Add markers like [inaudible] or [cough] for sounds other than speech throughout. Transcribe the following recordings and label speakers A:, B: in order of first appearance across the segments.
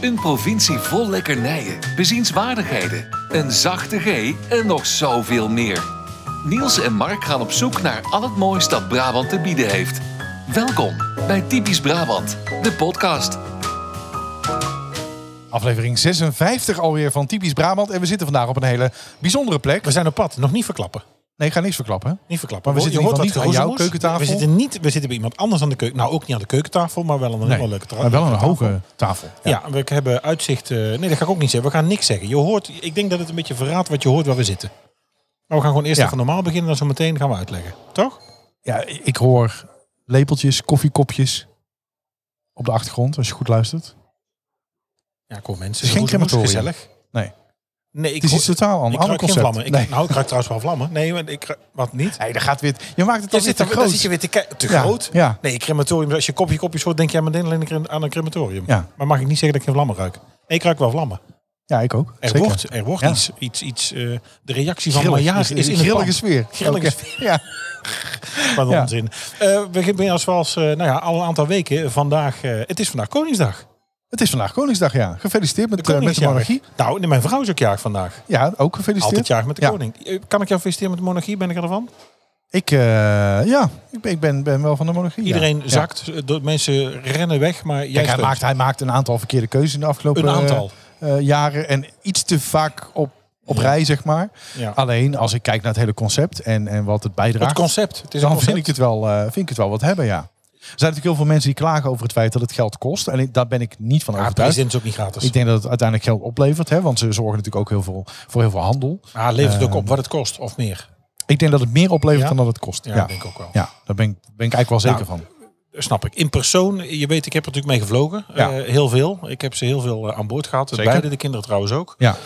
A: Een provincie vol lekkernijen, bezienswaardigheden, een zachte G en nog zoveel meer. Niels en Mark gaan op zoek naar al het moois dat Brabant te bieden heeft. Welkom bij Typisch Brabant, de podcast.
B: Aflevering 56 alweer van Typisch Brabant. En we zitten vandaag op een hele bijzondere plek.
C: We zijn op pad, nog niet verklappen.
B: Nee, ik ga niks verklappen. hè?
C: Niet verklappen.
B: Maar we
C: Hoor-
B: zitten in ieder geval niet aan jouw
C: geroezemoes.
B: keukentafel.
C: We zitten, niet, we zitten bij iemand anders aan de keuken. Nou, ook niet aan de keukentafel, maar wel aan een hele leuke tra-
B: maar wel een
C: tafel.
B: hoge tafel.
C: Ja. we hebben uitzicht. eh, nee, dat ga ik ook niet zeggen. We gaan niks zeggen. Je hoort, ik denk dat het een beetje verraadt wat je hoort waar we zitten. Maar we gaan gewoon eerst
B: Ja.
C: even normaal beginnen en dan zo meteen gaan we uitleggen. Toch?
B: Ja, ik hoor lepeltjes, koffiekopjes op de achtergrond, als je goed luistert.
C: Ja, kom mensen.
B: Het is geen
C: Geroezemoes,
B: crematorium.
C: Gezellig.
B: Nee,
C: Nee, ik
B: het is iets
C: hoor-
B: totaal anders.
C: ik ruik
B: ander
C: geen
B: concept.
C: vlammen. Ik,
B: nee.
C: Nou, ik ruik trouwens wel vlammen. Nee, maar ik ruik- wat niet?
B: nee, dat gaat weer... Je maakt het alweer
C: Dan zit,
B: te
C: er, dan
B: groot.
C: zit je weer te kijken. Te
B: Ja,
C: groot?
B: ja.
C: Nee, crematorium. Als je kopje kopjes hoort, denk jij meteen alleen aan een- aan een crematorium.
B: Ja.
C: Maar mag ik niet zeggen dat ik geen vlammen ruik? Nee, ik ruik wel vlammen.
B: Ja, ik ook.
C: Er
B: Zeker.
C: wordt, er wordt
B: Ja.
C: iets, iets, iets eh, de reactie van
B: Grillig.
C: Maillard is in
B: Grillige
C: het
B: sfeer.
C: Grillige
B: Oké. Ja.
C: pand. Wat een
B: Ja.
C: onzin. Eh, we beginnen zoals eh, nou ja, al een aantal weken vandaag. eh, het is vandaag Koningsdag.
B: Het is vandaag Koningsdag, ja. Gefeliciteerd met, eh,
C: koning
B: met
C: is
B: de
C: jarig.
B: monarchie.
C: Nou, nee, mijn vrouw is ook jarig vandaag.
B: Ja, ook gefeliciteerd.
C: Altijd jarig met de
B: Ja.
C: koning. Eh, Kan ik jou feliciteren met de monarchie? Ben ik ervan?
B: Ik, eh, ja, ik, ben, ik ben, ben wel van de monarchie. ja.
C: Iedereen
B: Ja.
C: zakt. eh, de mensen rennen weg, maar jij
B: Kijk, hij
C: steunt.
B: maakt, hij maakt een aantal verkeerde keuzes in de afgelopen
C: Een aantal.
B: eh, eh, jaren. En iets te vaak op, op rij, zeg maar.
C: Ja.
B: Alleen als ik kijk naar het hele concept en, en wat het bijdraagt.
C: Het concept. Het is een
B: dan
C: concept.
B: vind ik, het wel, eh, vind ik het wel wat hebben, ja. Er zijn natuurlijk heel veel mensen die klagen over het feit dat het geld kost. En ik- daar ben ik niet van
C: Ja, de
B: overtuigd.
C: president is ook niet gratis.
B: Ik denk dat het uiteindelijk geld oplevert. Hè, want ze zorgen natuurlijk ook heel veel, voor heel veel handel.
C: Ah, levert het ook
B: Eh,
C: op wat het kost of meer?
B: Ik denk dat het meer oplevert
C: Ja?
B: dan dat het kost.
C: Ja,
B: Ja, ja.
C: ik denk ook wel.
B: daar ben ik, ben ik eigenlijk wel zeker
C: Nou,
B: van.
C: Snap ik. In persoon, je weet, ik heb er natuurlijk mee gevlogen.
B: Ja.
C: Eh, heel veel. Ik heb ze heel veel eh, aan boord gehad.
B: Zeker.
C: Beide de kinderen trouwens ook.
B: Ja,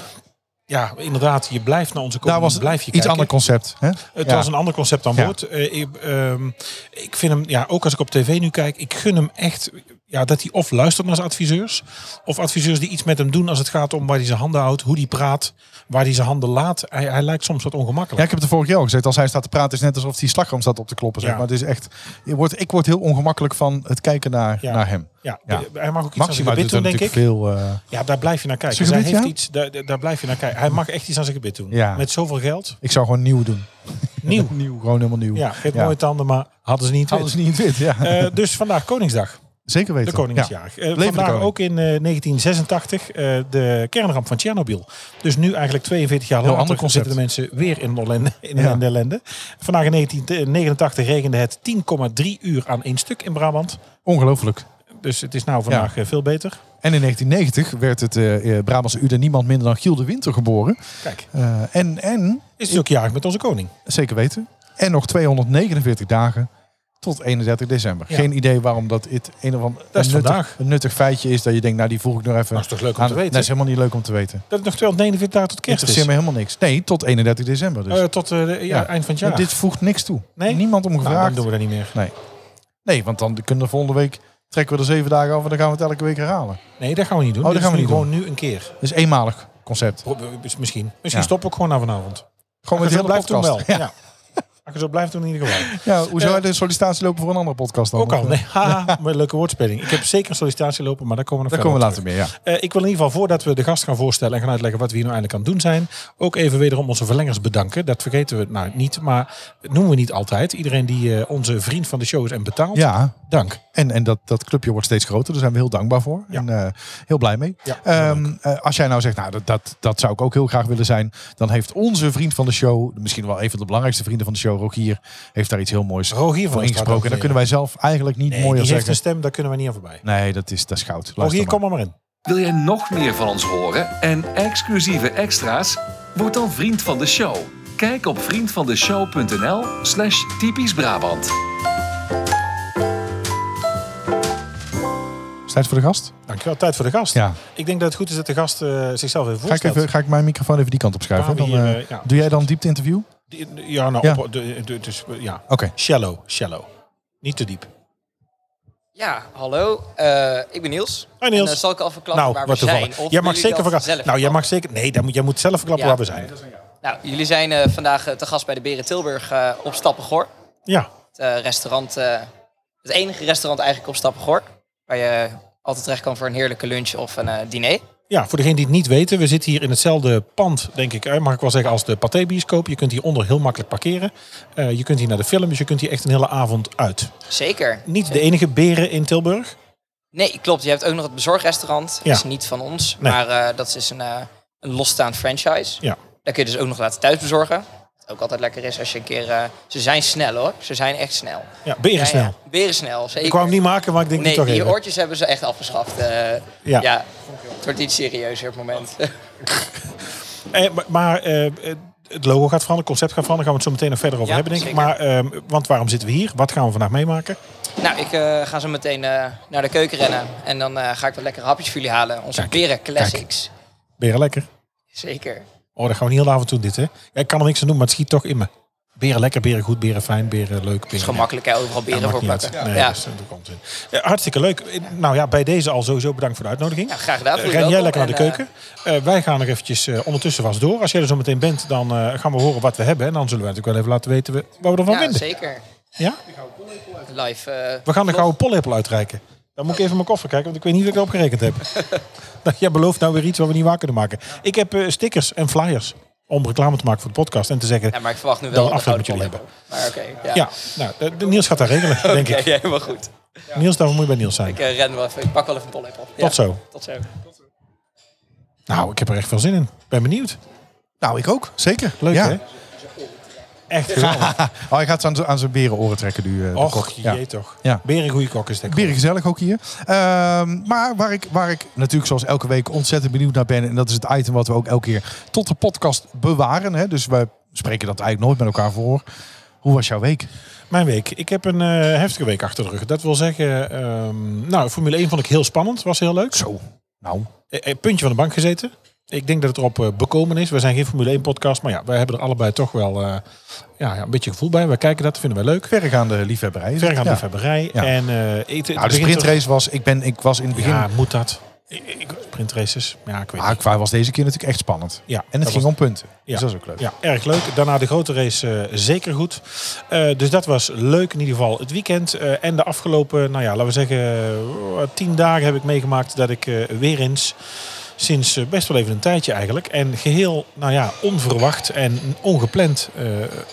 C: Ja, inderdaad. Je blijft naar onze
B: daar
C: koning.
B: was het
C: blijf je
B: iets
C: kijken.
B: ander concept. Hè?
C: Het
B: Ja.
C: was een ander concept aan
B: Ja.
C: boord. Eh, ik, ehm, ik vind hem, ja, ook als ik op tv nu kijk, ik gun hem echt ja, dat hij of luistert naar zijn adviseurs. Of adviseurs die iets met hem doen als het gaat om waar hij zijn handen houdt, hoe hij praat, waar hij zijn handen laat. Hij, hij lijkt soms wat
B: Ja,
C: ongemakkelijk.
B: ik heb het de vorige keer al gezegd. Als hij staat te praten, is het net alsof hij slagroom staat op te kloppen. Zeg
C: Ja.
B: maar. het is echt, je wordt, ik word heel ongemakkelijk van het kijken naar,
C: Ja.
B: naar hem.
C: Ja,
B: Ja.
C: de- hij mag ook iets aan zijn
B: Maxima
C: gebit
B: doet er
C: doen, denk
B: natuurlijk
C: ik.
B: veel... eh,
C: Ja, daar blijf je naar kijken.
B: Zijn
C: Zij
B: gebit,
C: heeft
B: ja?
C: iets, daar, daar- daar blijf je naar kijken. Hij mag echt iets aan zijn gebit doen.
B: Ja.
C: Met zoveel geld.
B: ik zou gewoon nieuw doen.
C: [laughs] Nieuw.
B: [laughs] Nieuw, gewoon helemaal nieuw.
C: Ja, geeft mooie tanden, maar hadden ze niet.
B: Hadden ze niet in het wit, ja.
C: Eh, dus vandaag Koningsdag.
B: [laughs] Zeker weten.
C: De koning is
B: Ja.
C: jarig. Eh,
B: Leven de
C: vandaag
B: koning.
C: ook in eh, 1986 eh, de kernramp van Tsjernobyl. Dus nu eigenlijk 42 jaar
B: Heel
C: later
B: ander concept.
C: zitten de mensen weer in, ellende, in
B: Ja.
C: de ellende. Vandaag in 1989 regende het 10,3 uur aan één stuk in Brabant.
B: Ongelooflijk.
C: Dus het is nou vandaag eh, veel beter.
B: En in 1990 werd het eh eh, Brabantse Ude niemand minder dan Giel de Winter geboren.
C: Kijk,
B: Eh, en, en,
C: is het ook jarig met onze koning.
B: zeker weten, en nog 249 dagen tot 31 december.
C: Ja.
B: Geen idee waarom dat het een of ander
C: Dat is
B: een nuttig,
C: vandaag.
B: een nuttig feitje is. Dat je denkt, nou die voeg ik nog even
C: Dat is toch leuk om
B: aan-
C: te weten?
B: Dat is helemaal niet leuk om te weten.
C: Dat het nog 249 dagen tot kerst is.
B: Interesseert me helemaal niks. Nee, tot 31 december dus.
C: Eh, tot eh, de- ja,
B: Ja.
C: eind van het
B: En
C: jaar.
B: dit voegt niks toe.
C: Nee?
B: Niemand om
C: Nou,
B: gevraagd.
C: dan doen we dat niet meer.
B: Nee, want dan kunnen we volgende week trekken we er zeven dagen over en dan gaan we het elke week herhalen.
C: Nee, dat gaan we niet doen.
B: Oh, dat
C: Dit
B: gaan we
C: is nu
B: niet
C: gewoon nu een keer.
B: Dat is eenmalig concept.
C: Pro- eh, Misschien. Misschien
B: Ja.
C: stoppen we ook gewoon na vanavond.
B: Gewoon
C: Als
B: met
C: je
B: de
C: zo
B: hele
C: blijft doen wel.
B: podcast.
C: Ja.
B: Ja.
C: Als je zo blijft doen in ieder geval.
B: Ja, hoe zou
C: Eh,
B: je de sollicitatie lopen voor een andere podcast dan?
C: Ook al.
B: Of, [laughs] eh,
C: Nee, haha, maar leuke woordspeling. Ik heb zeker een sollicitatie lopen, maar daar komen we nog
B: Daar komen we
C: verder
B: later meer, ja.
C: op terug. Eh, ik wil in ieder geval, voordat we de gast gaan voorstellen en gaan uitleggen wat we hier nou eigenlijk aan het doen zijn, ook even wederom onze verlengers bedanken. Dat vergeten we nou niet, maar dat noemen we niet altijd. Iedereen die eh, onze vriend van de show is en betaalt,
B: Ja,
C: dank.
B: en, en dat, dat clubje wordt steeds groter. Daar zijn we heel dankbaar voor.
C: Ja.
B: En eh, heel blij mee.
C: Ja,
B: Ehm, eh, als jij nou zegt, nou, dat, dat, dat zou ik ook heel graag willen zijn. Dan heeft onze vriend van de show, misschien wel een van de belangrijkste vrienden van de show, Rogier, heeft daar iets heel moois
C: Rogier van
B: voor ingesproken. En dan kunnen wij zelf eigenlijk niet
C: nee, die
B: mooier
C: heeft
B: zeggen.
C: een stem, daar kunnen we niet aan voorbij.
B: Nee, dat is, dat is goud. Luister
C: Rogier,
B: maar.
C: kom er maar in.
A: Wil jij nog meer van ons horen en exclusieve extra's? Word dan vriend van de show. Kijk op vriendvandeshow.nl slash typisch Brabant.
B: Is het tijd voor de gast?
C: Dankjewel. Tijd voor de gast.
B: Ja.
C: Ik denk dat het goed is dat de gast eh, zichzelf even
B: Ga ik,
C: voorstelt.
B: even, ga ik mijn microfoon even die kant op schuiven?
C: Waar
B: Dan,
C: we hier,
B: eh,
C: eh, ja.
B: Doe jij dan diepte interview? Oké.
C: Die- Ja, nou,
B: Ja.
C: Op, de, de- dus, ja. Shallow, shallow. Niet te diep.
D: Ja, hallo. eh, ik ben Niels.
C: Hoi, Niels.
D: En, eh, zal ik al verklappen
C: Nou,
D: waar we
C: wat
D: zijn?
C: toevallig.
D: Of
C: Jij
D: willen
C: mag
D: jullie
C: zeker
D: dat
C: verklappen.
D: zelf
C: Nou, jij mag zeker. Nee, dan moet, jij moet zelf verklappen
D: Ja.
C: waar we zijn.
D: Nou, jullie zijn eh, vandaag eh, te gast bij de Beren Tilburg eh, op Stappengoor.
C: Ja.
D: Het eh, restaurant, eh, het enige restaurant eigenlijk op Stappengoor. Waar je altijd terecht kan voor een heerlijke lunch of een eh, diner.
C: Ja, voor degenen die het niet weten, we zitten hier in hetzelfde pand, denk ik, eh, mag ik wel zeggen, als de Pathé Bioscoop. Je kunt hieronder heel makkelijk parkeren. Eh, je kunt hier naar de film, dus je kunt hier echt een hele avond uit.
D: Zeker.
C: Niet de enige beren in Tilburg.
D: Nee, klopt. Je hebt ook nog het bezorgrestaurant.
C: Ja.
D: Dat is niet van ons,
C: Nee.
D: maar eh, dat is dus een, eh, een losstaand franchise.
C: Ja.
D: Daar kun je dus ook nog laten thuisbezorgen. Wat ook altijd lekker is als je een keer... eh, ze zijn snel hoor. Ze zijn echt snel.
C: Ja, beren
D: Ja,
C: snel.
D: ja. Beren snel, zeker.
C: Ik wou hem niet maken, maar ik denk
D: Nee,
C: niet toch
D: die
C: even.
D: oortjes hebben ze echt afgeschaft. eh.
C: Ja.
D: ja. Het wordt iets serieuzer op het moment. [laughs]
C: Eh, maar maar, eh, het logo gaat veranderen, het concept gaat veranderen. Gaan we het zo meteen nog verder over
D: Ja,
C: hebben, denk ik.
D: zeker.
C: Maar, ehm, want waarom zitten we hier? Wat gaan we vandaag meemaken?
D: nou, ik eh, ga zo meteen eh, naar de keuken rennen. En dan eh, ga ik wat lekkere hapjes voor jullie halen. Onze beren classics.
C: Beren lekker.
D: Zeker.
C: Oh, dat gaan we niet heel de avond doen, dit, hè? Ja, ik kan er niks aan doen, maar het schiet toch in me. Beren lekker, beren goed, beren fijn, beren leuk. Beren
D: Het is gemakkelijk hè, overal beren
C: Ja,
D: voor
C: maakt niet
D: plakken.
C: uit.
D: Ja.
C: Nee, dus, eh, dat komt in. Ja, hartstikke leuk. Eh, Nou ja, bij deze al sowieso bedankt voor de uitnodiging.
D: Ja, Nou, graag gedaan.
C: Eh,
D: Voor
C: Ren jij
D: jullie
C: lekker naar de
D: welkom. En,
C: keuken. Eh, wij gaan nog eventjes eh, ondertussen vast door. Als jij er zo meteen bent, dan eh, gaan we horen wat we hebben. En dan zullen we natuurlijk wel even laten weten we- wat we ervan
D: eh, ja,
C: vinden.
D: zeker.
C: Ja?
D: Live. eh,
C: We gaan de gouden pollepel uitreiken. Dan moet ik even mijn koffer kijken, want ik weet niet of ik erop gerekend heb. [laughs] Nou, jij belooft nou weer iets wat we niet waar kunnen maken. Ik heb eh, stickers en flyers om reclame te maken voor de podcast. En te zeggen,
D: ja, maar ik verwacht nu
C: Dat
D: wel
C: we
D: een
C: afloop
D: gouden
C: met jullie
D: pollepel. Maar oké, ja. [laughs]
C: ja, nou, de, de Niels gaat dat regelen, denk
D: Oké,
C: ik.
D: ja, helemaal goed.
C: Niels, daarvoor moet je bij Niels zijn.
D: Ik eh, ren wel even. Ik pak wel even een pollepel. op.
C: Tot zo.
D: Tot zo.
C: Nou, ik heb er echt veel zin in. Ben benieuwd.
B: Nou, ik ook. Zeker.
C: Leuk,
B: ja.
C: hè? Echt geweldig.
B: Oh, hij gaat ze aan, z'n- aan zijn berenoren trekken nu. eh, de kok.
C: Och,
B: Ja.
C: jee toch.
B: Ja.
C: Beren goede kok is dat.
B: Bier gezellig ook hier. Ehm, maar waar ik, waar ik natuurlijk zoals elke week ontzettend benieuwd naar ben. En dat is het item wat we ook elke keer tot de podcast bewaren. Hè? Dus we spreken dat eigenlijk nooit met elkaar voor. Hoe was jouw week?
C: Mijn week. Ik heb een eh, heftige week achter de rug. Dat wil zeggen, ehm, nou, Formule 1 vond ik heel spannend. Was heel leuk.
B: Zo. Nou.
C: Eh, eh, puntje van de bank gezeten. Ik denk dat het erop eh, bekomen is. We zijn geen Formule 1 podcast, maar ja, wij hebben er allebei toch wel eh, ja, ja, een beetje gevoel bij. Wij kijken dat, vinden wij leuk.
B: Verregaande liefhebberij. is het,
C: Vergaande
B: ja.
C: liefhebberij.
B: Ja.
C: En eh, het- het
B: Nou, de
C: begint er-
B: sprintrace was... Ik, ben, ik was in het begin...
C: Ja, moet dat? Ah. Ik- ik- Sprintraces? Ja, ik weet
B: maar
C: niet.
B: qua was deze keer natuurlijk echt spannend.
C: Ja,
B: En het
C: dat
B: ging om punten.
C: Ja.
B: Dus dat is ook leuk.
C: Ja, erg leuk. Daarna de grote race eh, zeker goed. Eh, dus dat was leuk in ieder geval het weekend. Eh, en de afgelopen, nou ja, laten we zeggen, eh, tien dagen heb ik meegemaakt dat ik eh, weer eens, sinds eh, best wel even een tijdje eigenlijk, en geheel, nou ja, onverwacht en ongepland eh,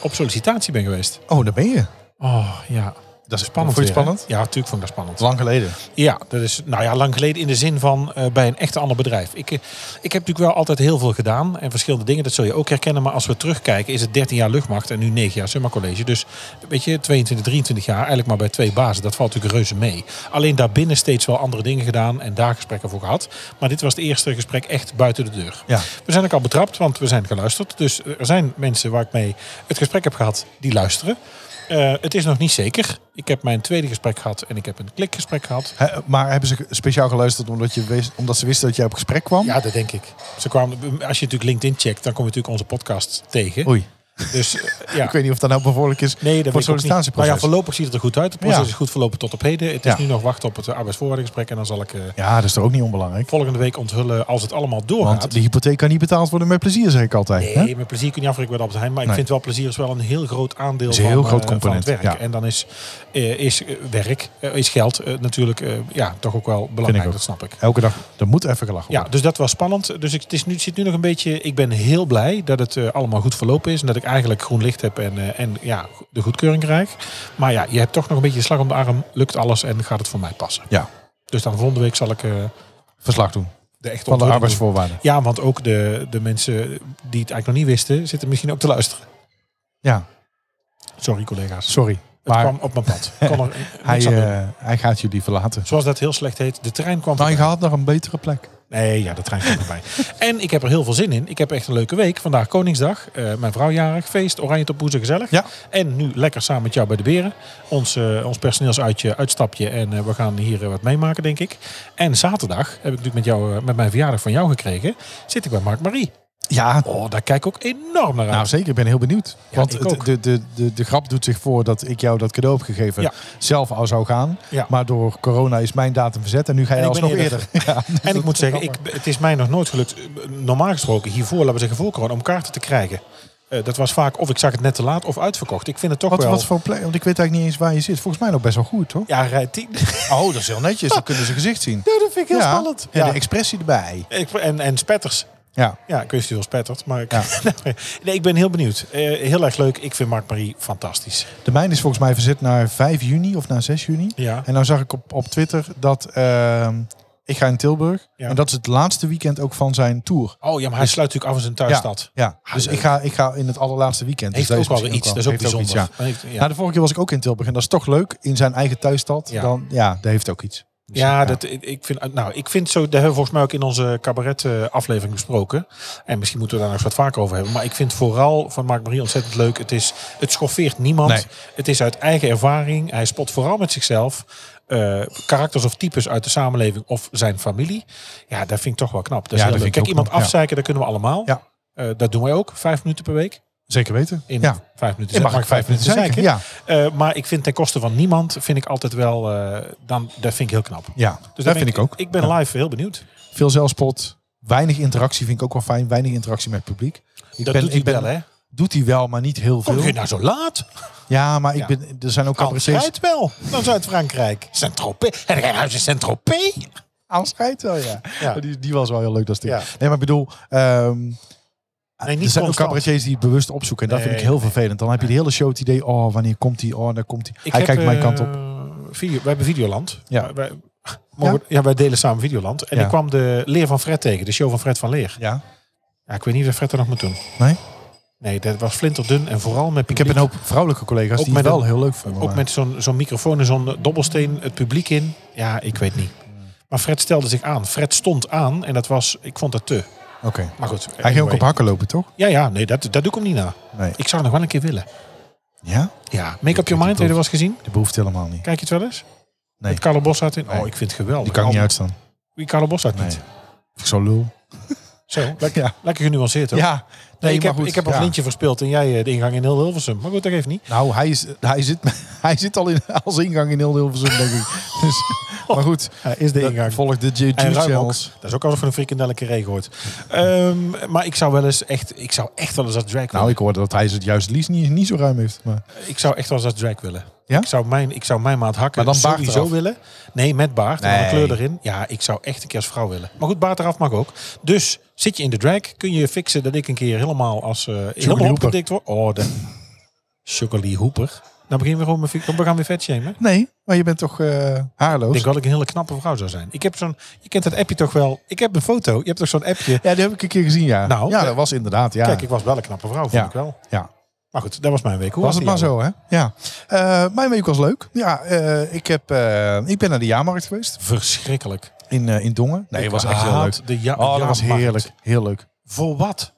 C: op sollicitatie ben geweest.
B: Oh, daar ben je.
C: Oh, ja.
B: Dat is
C: Spannend
B: Vond je
C: weer,
B: het spannend?
C: hè? Ja, natuurlijk vond ik dat spannend.
B: Lang geleden.
C: Ja, dat is nou ja, lang geleden in de zin van eh, bij een echt ander bedrijf. Ik, eh, ik heb natuurlijk wel altijd heel veel gedaan en verschillende dingen, dat zul je ook herkennen. Maar als we terugkijken is het 13 jaar luchtmacht en nu 9 jaar Summa College. Dus weet je, 22, 23 jaar eigenlijk maar bij twee bazen. Dat valt natuurlijk reuze mee. Alleen daarbinnen steeds wel andere dingen gedaan en daar gesprekken voor gehad. Maar dit was het eerste gesprek echt buiten de deur.
B: Ja.
C: We zijn ook al betrapt, want we zijn geluisterd. Dus er zijn mensen waar ik mee het gesprek heb gehad, die luisteren. Eh, het is nog niet zeker. Ik heb mijn tweede gesprek gehad en ik heb een klikgesprek gehad.
B: Hè, maar hebben ze speciaal geluisterd omdat, je wist, omdat ze wisten dat jij op gesprek kwam?
C: Ja, dat denk ik. Ze kwamen, als je natuurlijk LinkedIn checkt, dan kom je natuurlijk onze podcast tegen.
B: Oei. [laughs]
C: Dus eh, ja.
B: Ik weet niet of dat nou bevorderlijk is
C: Nee, dat
B: voor
C: was
B: het sollicitatieproces.
C: Maar ja, voorlopig ziet het er goed uit. Het proces
B: Ja.
C: is goed verlopen tot op heden. Het is
B: Ja.
C: nu nog wachten op het eh, arbeidsvoorwaardengesprek. En dan zal ik eh,
B: Ja, dat is toch ook niet onbelangrijk.
C: volgende week onthullen als het allemaal doorgaat.
B: Want de hypotheek kan niet betaald worden met plezier, zeg ik altijd. hè?
C: Nee, met plezier kun je niet afrekenen bij de Albert Heijn. Maar
B: Nee.
C: ik vind wel plezier is wel een heel groot aandeel
B: Is een
C: van,
B: heel
C: eh,
B: groot
C: van
B: component,
C: het werk.
B: ja.
C: En dan is, eh, is eh, werk, eh, is geld eh, natuurlijk eh, ja, toch ook wel belangrijk.
B: ook.
C: Dat snap ik.
B: Elke dag, er moet even gelachen
C: Ja,
B: worden.
C: dus dat was spannend. Dus ik, het is nu, het zit nu nog een beetje. Ik ben heel blij dat het eh, allemaal goed verlopen is. En dat ik eigenlijk groen licht heb en, eh, en ja, de goedkeuring krijg. Maar ja, je hebt toch nog een beetje de slag om de arm. Lukt alles en gaat het voor mij passen.
B: Ja.
C: Dus dan volgende week zal ik eh,
B: Verslag doen
C: de echte
B: van de
C: ontwikkeling doen.
B: arbeidsvoorwaarden.
C: Ja, want ook de, de mensen die het eigenlijk nog niet wisten, zitten misschien ook te luisteren.
B: Ja,
C: Sorry collega's.
B: sorry.
C: Het
B: Maar
C: kwam op mijn pad. Ik kon
B: [laughs]
C: er
B: hij,
C: niks aan doen.
B: eh, hij gaat jullie verlaten.
C: Zoals dat heel slecht heet, de trein kwam
B: Nou, je
C: voorbij.
B: gaat naar een betere plek.
C: Nee, ja, de trein komt erbij. en ik heb er heel veel zin in. Ik heb echt een leuke week. Vandaag Koningsdag. eh, mijn vrouw jarig. Feest. Oranje tot boezen. Gezellig.
B: Ja.
C: En nu lekker samen met jou bij de beren. Ons, eh, ons personeelsuitje, uitstapje. En eh, we gaan hier eh, wat meemaken, denk ik. En zaterdag heb ik natuurlijk met, jou, eh, met mijn verjaardag van jou gekregen. Zit ik bij Mark Marie.
B: Ja,
C: Oh, daar kijk ik ook enorm naar uit.
B: nou zeker. Ik ben heel benieuwd.
C: Ja,
B: Want
C: ik
B: het-
C: ook.
B: de, de, de, de grap doet zich voor dat ik jou dat cadeau heb gegeven.
C: Ja.
B: Zelf al zou gaan.
C: Ja.
B: Maar door corona is mijn datum verzet. En nu ga je
C: En ik ben
B: alsnog eerder. [laughs]
C: eerder.
B: Ja,
C: En ik moet zeggen, ik, het is mij nog nooit gelukt, eh, normaal gesproken, hiervoor, laten we zeggen voor corona, om kaarten te krijgen. Eh, Eh, dat was vaak of ik zag het net te laat of uitverkocht. Ik vind het toch
B: Wat,
C: wel...
B: wat voor plek? Want ik weet eigenlijk niet eens waar je zit. Volgens mij nog best wel goed, toch?
C: Ja, rij 10. Ja,
B: Oh, dat is heel netjes. Dan kunnen ze gezicht zien.
C: dat vind ik heel
B: ja.
C: spannend.
B: Ja,
C: Ja.
B: de expressie erbij.
C: Ik- en, en spetters.
B: Ja.
C: Ja, ik weet niet veel spettert, maar ik,
B: Ja.
C: [laughs] nee, ik ben heel benieuwd. Eh, heel erg leuk. Ik vind Mark Marie fantastisch.
B: De mijn is volgens mij verzet naar 5 juni of naar 6 juni.
C: Ja.
B: En nou zag ik op, op Twitter dat ehm, ik ga in Tilburg.
C: Ja.
B: En dat is het laatste weekend ook van zijn tour.
C: Oh ja, maar hij sluit natuurlijk af in zijn thuisstad.
B: Ja, dus
C: Ah, leuk.
B: ik ga, ik ga in het allerlaatste weekend.
C: Heeft
B: dus
C: ook wel weer
B: misschien
C: iets. Dat is ook
B: heeft
C: bijzonder.
B: iets, ja.
C: Maar heeft- ja.
B: Nou, de vorige keer was ik ook in Tilburg. En dat is toch leuk. In zijn eigen thuisstad.
C: Ja.
B: Dan, ja, dat heeft ook iets. Dus,
C: Ja, dat, ik, vind, nou, ik vind zo, dat hebben we volgens mij ook in onze cabaret eh, aflevering besproken. En misschien moeten we daar nog eens wat vaker over hebben. Maar ik vind vooral van Mark Marie ontzettend leuk. Het, is, het schoffeert niemand.
B: Nee.
C: Het is uit eigen ervaring. Hij spot vooral met zichzelf eh, karakters of types uit de samenleving of zijn familie. Ja, dat vind ik toch wel knap. Dat is
B: Ja,
C: heel
B: dat
C: leuk.
B: vind ik
C: Kijk,
B: ook
C: iemand
B: knap, ja.
C: afzeiken, dat kunnen we allemaal.
B: Ja.
C: Eh, dat doen wij ook, vijf minuten per week.
B: Zeker weten.
C: In
B: ja.
C: vijf minuten.
B: Je
C: zin-
B: mag ik vijf minuten zeiken.
C: zeiken.
B: Ja.
C: Eh, maar ik vind ten koste van niemand, vind ik altijd wel, eh, dan, dat vind ik heel knap.
B: ja,
C: Dus
B: dat
C: daar ben
B: vind ik ook.
C: Ik ben live heel benieuwd.
B: Veel zelfspot. Weinig interactie vind ik ook wel fijn. Weinig interactie met het publiek. Ik
C: dat
B: ben-
C: doet hij
B: ik ben-
C: wel, hè?
B: Doet hij wel, maar niet heel veel.
C: Kom je nou zo laat?
B: Ja, maar ik
C: Ja.
B: ben, er zijn ook
C: Frans
B: cabaretiers.
C: rijdt wel. Dan is uit Frankrijk. Saint-Tropez. En hij huis in Saint-Tropez.
B: Ah, Aanschijt wel, [laughs] ja.
C: Ja.
B: Die, die was wel heel leuk, dat stuk.
C: Ja.
B: Nee, maar ik bedoel... ehm,
C: Nee, niet
B: er zijn ook
C: constant.
B: cabaretiers die het bewust opzoeken. En dat vind
C: Nee,
B: ik heel vervelend. Dan heb je de hele show het idee... Oh, wanneer komt hij? Oh, daar komt hij.
C: Ik
B: Hij
C: heb,
B: kijkt mijn
C: eh,
B: kant op.
C: Video, wij hebben Videoland.
B: Ja.
C: Wij, mogen we- ja, wij delen samen Videoland. En
B: Ja.
C: ik kwam de Leer van Fred tegen. De show van Fred van Leer.
B: Ja.
C: Ja, ik weet niet of Fred er nog moet doen.
B: Nee?
C: Nee, dat was flinterdun. En vooral met
B: Ik heb een
C: publiek.
B: hoop vrouwelijke collega's
C: Ook
B: die het
C: met
B: wel
C: een-
B: heel leuk vinden.
C: Ook
B: maar-
C: met zo'n zo'n microfoon en zo'n eh, dobbelsteen het publiek in. Ja, ik weet niet. Maar Fred stelde zich aan. Fred stond aan. En dat was... Ik vond dat te.
B: Oké.
C: Maar goed.
B: Hij ging ook
C: anyway.
B: op hakken lopen, toch?
C: Ja, ja, nee, dat, dat doe ik hem niet na.
B: Nee.
C: Ik zou nog wel een keer willen.
B: Ja?
C: Ja. Make Up Your Mind, heb je dat wel eens gezien?
B: Dat behoeft helemaal niet.
C: Kijk je het wel eens?
B: Nee.
C: Met Carlo Bossart in?
B: Nee.
C: Oh, ik vind het geweldig.
B: Die kan ik niet
C: Al-
B: uitstaan.
C: Wie Carlo Bossart
B: Nee.
C: niet?
B: Of ik zo lul.
C: Zo,
B: [laughs]
C: lekker,
B: Ja.
C: lekker genuanceerd hoor.
B: Ja. Nee,
C: nee, ik,
B: maar
C: heb,
B: goed.
C: ik heb een
B: Ja.
C: lintje verspeeld en jij eh, de ingang in heel Hilversum. Maar goed, dat geeft niet.
B: Nou, hij, is, hij, zit, [laughs] hij zit al in, als ingang in heel Hilversum, denk ik. [laughs] Dus, maar goed,
C: is de
B: dat- volg de Ju-
C: En
B: Juice
C: ruimbok.
B: Channels.
C: Dat is ook alsof van een frikandellenke regen hoort. Ehm, maar ik zou wel eens echt, ik zou echt wel eens als drag
B: Nou,
C: willen.
B: ik hoorde dat hij het juist liefst niet, niet zo ruim heeft. Maar,
C: ik... zou echt wel eens als drag willen.
B: Ja?
C: Ik zou mijn, ik zou mijn maat hakken.
B: Maar dan baard
C: sowieso
B: eraf.
C: willen. Nee, met baard. En dan een
B: Nee.
C: kleur erin. Ja, ik zou echt een keer als vrouw willen. Maar goed, baard eraf mag ook. Dus zit je in de drag, kun je fixen dat ik een keer helemaal als eh helemaal
B: Hooper.
C: opgedikt word. Oh, de Sugar Lee Hooper. Nou beginnen we gewoon met fi- we gaan weer vet shamen.
B: nee, maar je bent toch eh, haarloos?
C: Ik denk wel dat ik een hele knappe vrouw zou zijn. Ik heb zo'n, je kent dat appje toch wel. Ik heb een foto. Je hebt toch zo'n appje.
B: ja, die heb ik een keer gezien, ja.
C: Nou,
B: ja,
C: eh,
B: dat was inderdaad, ja.
C: Kijk, ik was wel een knappe vrouw, vond
B: Ja.
C: ik wel.
B: ja.
C: Maar goed, dat was mijn week. Hoe
B: Was het maar
C: die
B: zo, hè? Ja. Eh, mijn week was leuk. Ja, eh, ik, heb, eh, ik ben naar de jaarmarkt geweest
C: jou? Verschrikkelijk.
B: in, eh, in Dongen. Nee,
C: Ik
B: het was echt heel
C: haat
B: leuk.
C: De ja-
B: Oh, dat was
C: jaarmarkt.
B: heerlijk. Heel leuk.
C: Voor wat?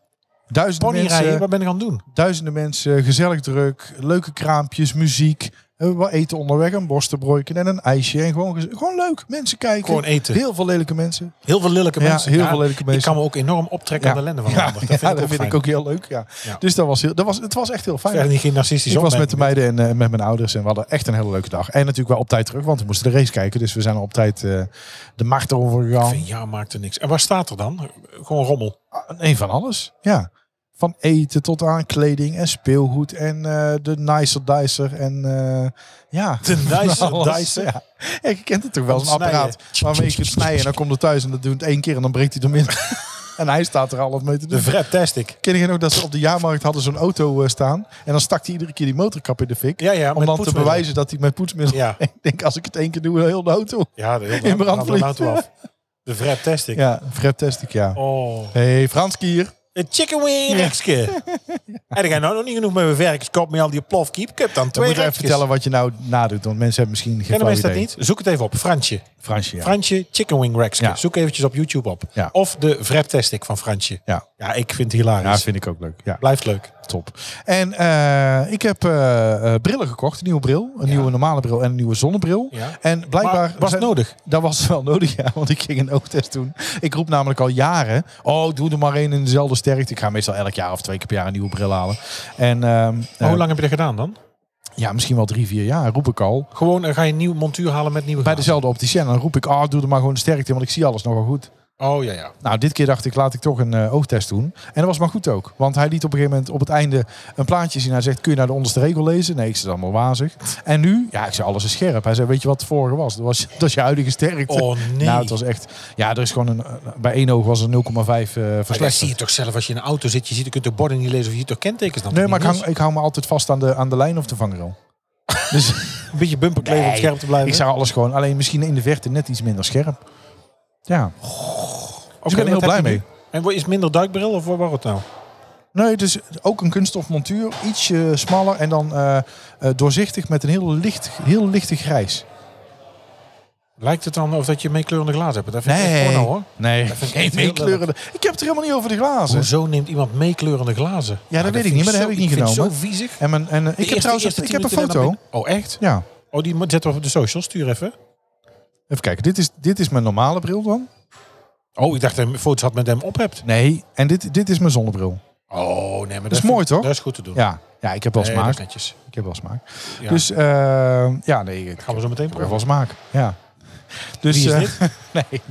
B: Duizenden
C: Ponyrijden,
B: mensen,
C: wat ben ik aan het doen?
B: duizenden mensen, gezellig druk, leuke kraampjes, muziek. Eh, Wat eten onderweg, een borstenbroeken en een ijsje. En gewoon, gez- gewoon leuk. Mensen kijken.
C: Gewoon eten.
B: Heel veel lelijke mensen.
C: Heel veel lelijke
B: Ja,
C: mensen.
B: heel veel lelijke mensen.
C: Ik kan me ook enorm optrekken aan de lenden van de
B: ja,
C: ander. Dat
B: ja,
C: vind, ik, ook fijn.
B: heel leuk. Ja.
C: Ja.
B: Dus dat was heel, dat was, het was echt heel fijn.
C: Verder niet geen narcistisch
B: ik was met de meiden en eh, met mijn ouders en we hadden echt een hele leuke dag. En natuurlijk wel op tijd terug, want we moesten de race kijken. Dus we zijn op tijd eh, de macht over gegaan.
C: Ja, maakt er niks. En waar staat er dan? Gewoon rommel.
B: Nee, van alles. Ja. Van eten tot aan kleding en speelgoed en eh, de nicer dicer en eh, ja. [laughs]
C: De nicer
B: Van alles.
C: dicer?
B: Ja. Ja, je kent het toch wel,
C: Om
B: een
C: te snijden.
B: apparaat waarmee je kunt snijden. En dan komt er thuis en dat doet het één keer en dan breekt hij hem
C: [laughs]
B: in. en hij staat er half mee te doen.
C: De Vraptastic.
B: Ken je nog dat ze op de jaarmarkt hadden zo'n auto eh, staan. En dan stak hij iedere keer die motorkap in de fik.
C: Ja, ja,
B: om
C: met
B: dan te
C: poetsmiddel.
B: bewijzen dat hij met poetsmiddel...
C: Ja.
B: [laughs] ik denk, als ik het één keer doe, heel de auto.
C: Ja, [laughs] de
B: In brand
C: de
B: vliegt.
C: auto af. De Vraptastic.
B: Ja, Fred test ik, ja.
C: Oh.
B: hey, Franski hier.
C: Een chicken wing rekske. [laughs] En ik ga nou nog niet genoeg met mijn werkerskop met al die plofkiep. Ik heb dan
B: Dan
C: twee
B: moet je even
C: rekjes.
B: vertellen wat je nou nadoet. Want mensen hebben misschien geen
C: Kennen
B: flauw
C: mensen dat
B: idee.
C: niet? Zoek het even op. Fransje.
B: Fransje, ja.
C: Fransje Chicken Wing Rex.
B: Ja.
C: Zoek eventjes op YouTube op.
B: Ja.
C: Of de Vraptastic van Fransje.
B: Ja.
C: ja, ik vind het hilarisch.
B: Ja, vind ik ook leuk. Ja,
C: Blijft leuk.
B: top. En eh, ik heb eh, eh, brillen gekocht. Een nieuwe bril. Een nieuwe normale bril en een nieuwe zonnebril.
C: Ja.
B: En blijkbaar...
C: Maar was
B: zijn-
C: nodig?
B: Dat was wel nodig, ja. Want ik ging een oogtest doen. Ik roep namelijk al jaren... Oh, doe er maar één in dezelfde sterkte. Ik ga meestal elk jaar of twee keer per jaar een nieuwe bril halen. En ehm,
C: Maar
B: eh,
C: hoe lang heb je dat gedaan dan?
B: ja, misschien wel drie, vier jaar roep ik al.
C: Gewoon eh, ga je een nieuw montuur halen met nieuwe
B: Bij
C: glazen.
B: "Oh, dezelfde opticien. Dan roep ik, ah, doe er maar gewoon de sterkte in, want ik zie alles nogal goed.
C: Oh ja, ja.
B: Nou, dit keer dacht ik, laat ik toch een eh, oogtest doen. En dat was maar goed ook. Want hij liet op een gegeven moment op het einde een plaatje zien. Hij zegt, kun je naar de onderste regel lezen? Nee, ik zei, dat is allemaal wazig. En nu? Ja, ik zei, alles is scherp. Hij zei, weet je wat het vorige was? Dat, was, [laughs] dat is je huidige sterkte.
C: Oh nee.
B: Nou, het was echt... Ja, er is gewoon een... eh, Bij één oog was er 0,5 eh
C: Maar dat
B: verslechtering.
C: zie je toch zelf als je in een auto zit. Je, ziet, je kunt de borden niet lezen of je ziet toch kentekens dan.
B: Nee,
C: toch
B: maar ik
C: niet
B: hang, ik hou me altijd vast aan de, aan de lijn of de vangrail. [laughs] Dus
C: lezen? Een beetje bumperkleven om
B: Nee,
C: scherp te blijven.
B: ik zag alles gewoon. Alleen misschien in de verte net iets minder scherp. Ja.
C: Oké,
B: ik ben er heel
C: wat heb
B: blij
C: je nu? En wat- is het minder duikbril of wat was het nou?
B: Nee, dus ook een kunststof montuur. Ietsje smaller en dan eh, eh, doorzichtig met een heel licht, heel lichte grijs.
C: Lijkt het dan of dat je meekleurende glazen hebt? Dat vind ik echt porno hoor.
B: nee.
C: Dat vind ik
B: Geen
C: echt heel
B: meekleurende. Ik heb het er helemaal niet over de glazen.
C: Hoezo neemt iemand meekleurende glazen? Nou,
B: dat weet ik niet, maar dat heb ik niet
C: Zo
B: genomen.
C: viezig.
B: En, mijn, en eh, ik heb trouwens ik heb een foto.
C: Oh echt?
B: Ja.
C: Oh die moet- zetten we op de social. Stuur even.
B: Even kijken. Dit is, dit is mijn normale bril dan.
C: Oh ik dacht dat je foto's had met hem op hebt.
B: Nee. En dit, dit is mijn zonnebril.
C: Oh nee, maar dat,
B: is
C: vind
B: mooi,
C: ik-
B: toch?
C: Dat is goed te doen.
B: Ja. Ja, ik heb wel
C: Nee, dat
B: smaak.
C: is netjes.
B: Ik heb wel smaak.
C: Ja.
B: Dus eh, ja, nee. Ik
C: Gaan we zo meteen
B: heb wel
C: proeven.
B: smaak. Ja. Dus,
C: Wie is
B: eh, [laughs]
C: dit?
B: nee,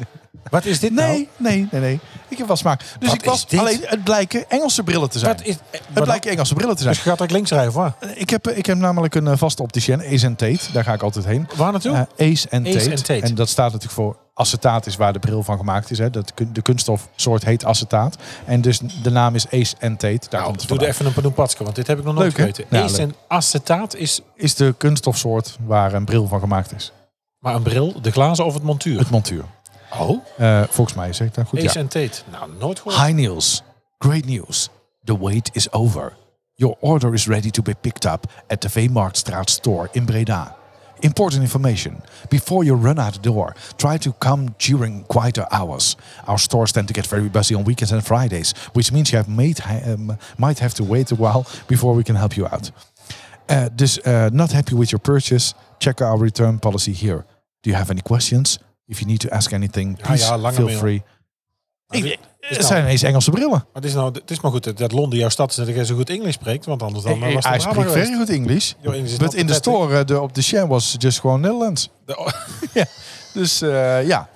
C: Wat is dit nou?
B: Nee, nee, nee, nee. Ik heb wel smaak. Dus
C: Wat
B: ik was
C: is dit?
B: alleen het blijken Engelse brillen te zijn.
C: Wat is, eh,
B: het
C: wat
B: blijken Engelse brillen te zijn.
C: dan? Dus je gaat ook links rijden of waar?
B: Ik heb, ik heb namelijk een eh, vaste opticien, Ace en Tate. Daar ga ik altijd heen.
C: Waar naartoe?
B: Eh, Ace en
C: Ace
B: Tate.
C: en Tate.
B: En dat staat natuurlijk voor acetaat is waar de bril van gemaakt is. Hè. Dat, kun- de kunststofsoort heet acetaat. En dus de naam is Ace en Tate. Daar
C: nou,
B: komt het
C: doe er
B: vandaan.
C: even een panoepatske, want dit heb ik nog nooit
B: Leuk, hè?
C: geweten.
B: Ja,
C: Ace
B: leuk.
C: en acetaat is
B: Is de kunststofsoort waar een bril van gemaakt is.
C: maar een bril, de glazen of het montuur.
B: [laughs] Het montuur.
C: oh,
B: Eh, volgens mij zeg ik dat goed.
C: Ace
B: Ja.
C: en Tate. Nou, nooit gehoord.
B: Hi Niels, great news. The wait is over. Your order is ready to be picked up at the Veemarktstraat store in Breda. Important information. Before you run out the door, try to come during quieter hours. Our stores tend to get very busy on weekends and Fridays, which means you have made, um, might have to wait a while before we can help you out. Uh, dus uh, not happy with your purchase? Check our return policy here. Do you have any questions? If you need to ask anything, please
C: ja, lange
B: feel
C: mail.
B: free.
C: Nou,
B: Ik-
C: is
B: het
C: nou-
B: eh, zijn ineens Engelse brillen.
C: Maar het is, nou, het is maar goed dat, dat Londen jouw stad is en dat jij zo goed Engels spreekt. Want anders dan eh, was
B: I speak
C: het drama
B: very
C: geweest.
B: good English.
C: Your English is
B: But
C: not
B: in the
C: pathetic.
B: store, uh, the, op de share was just gewoon Nederlands.
C: De- [laughs] oh,
B: [laughs] Ja. Dus eh, ja.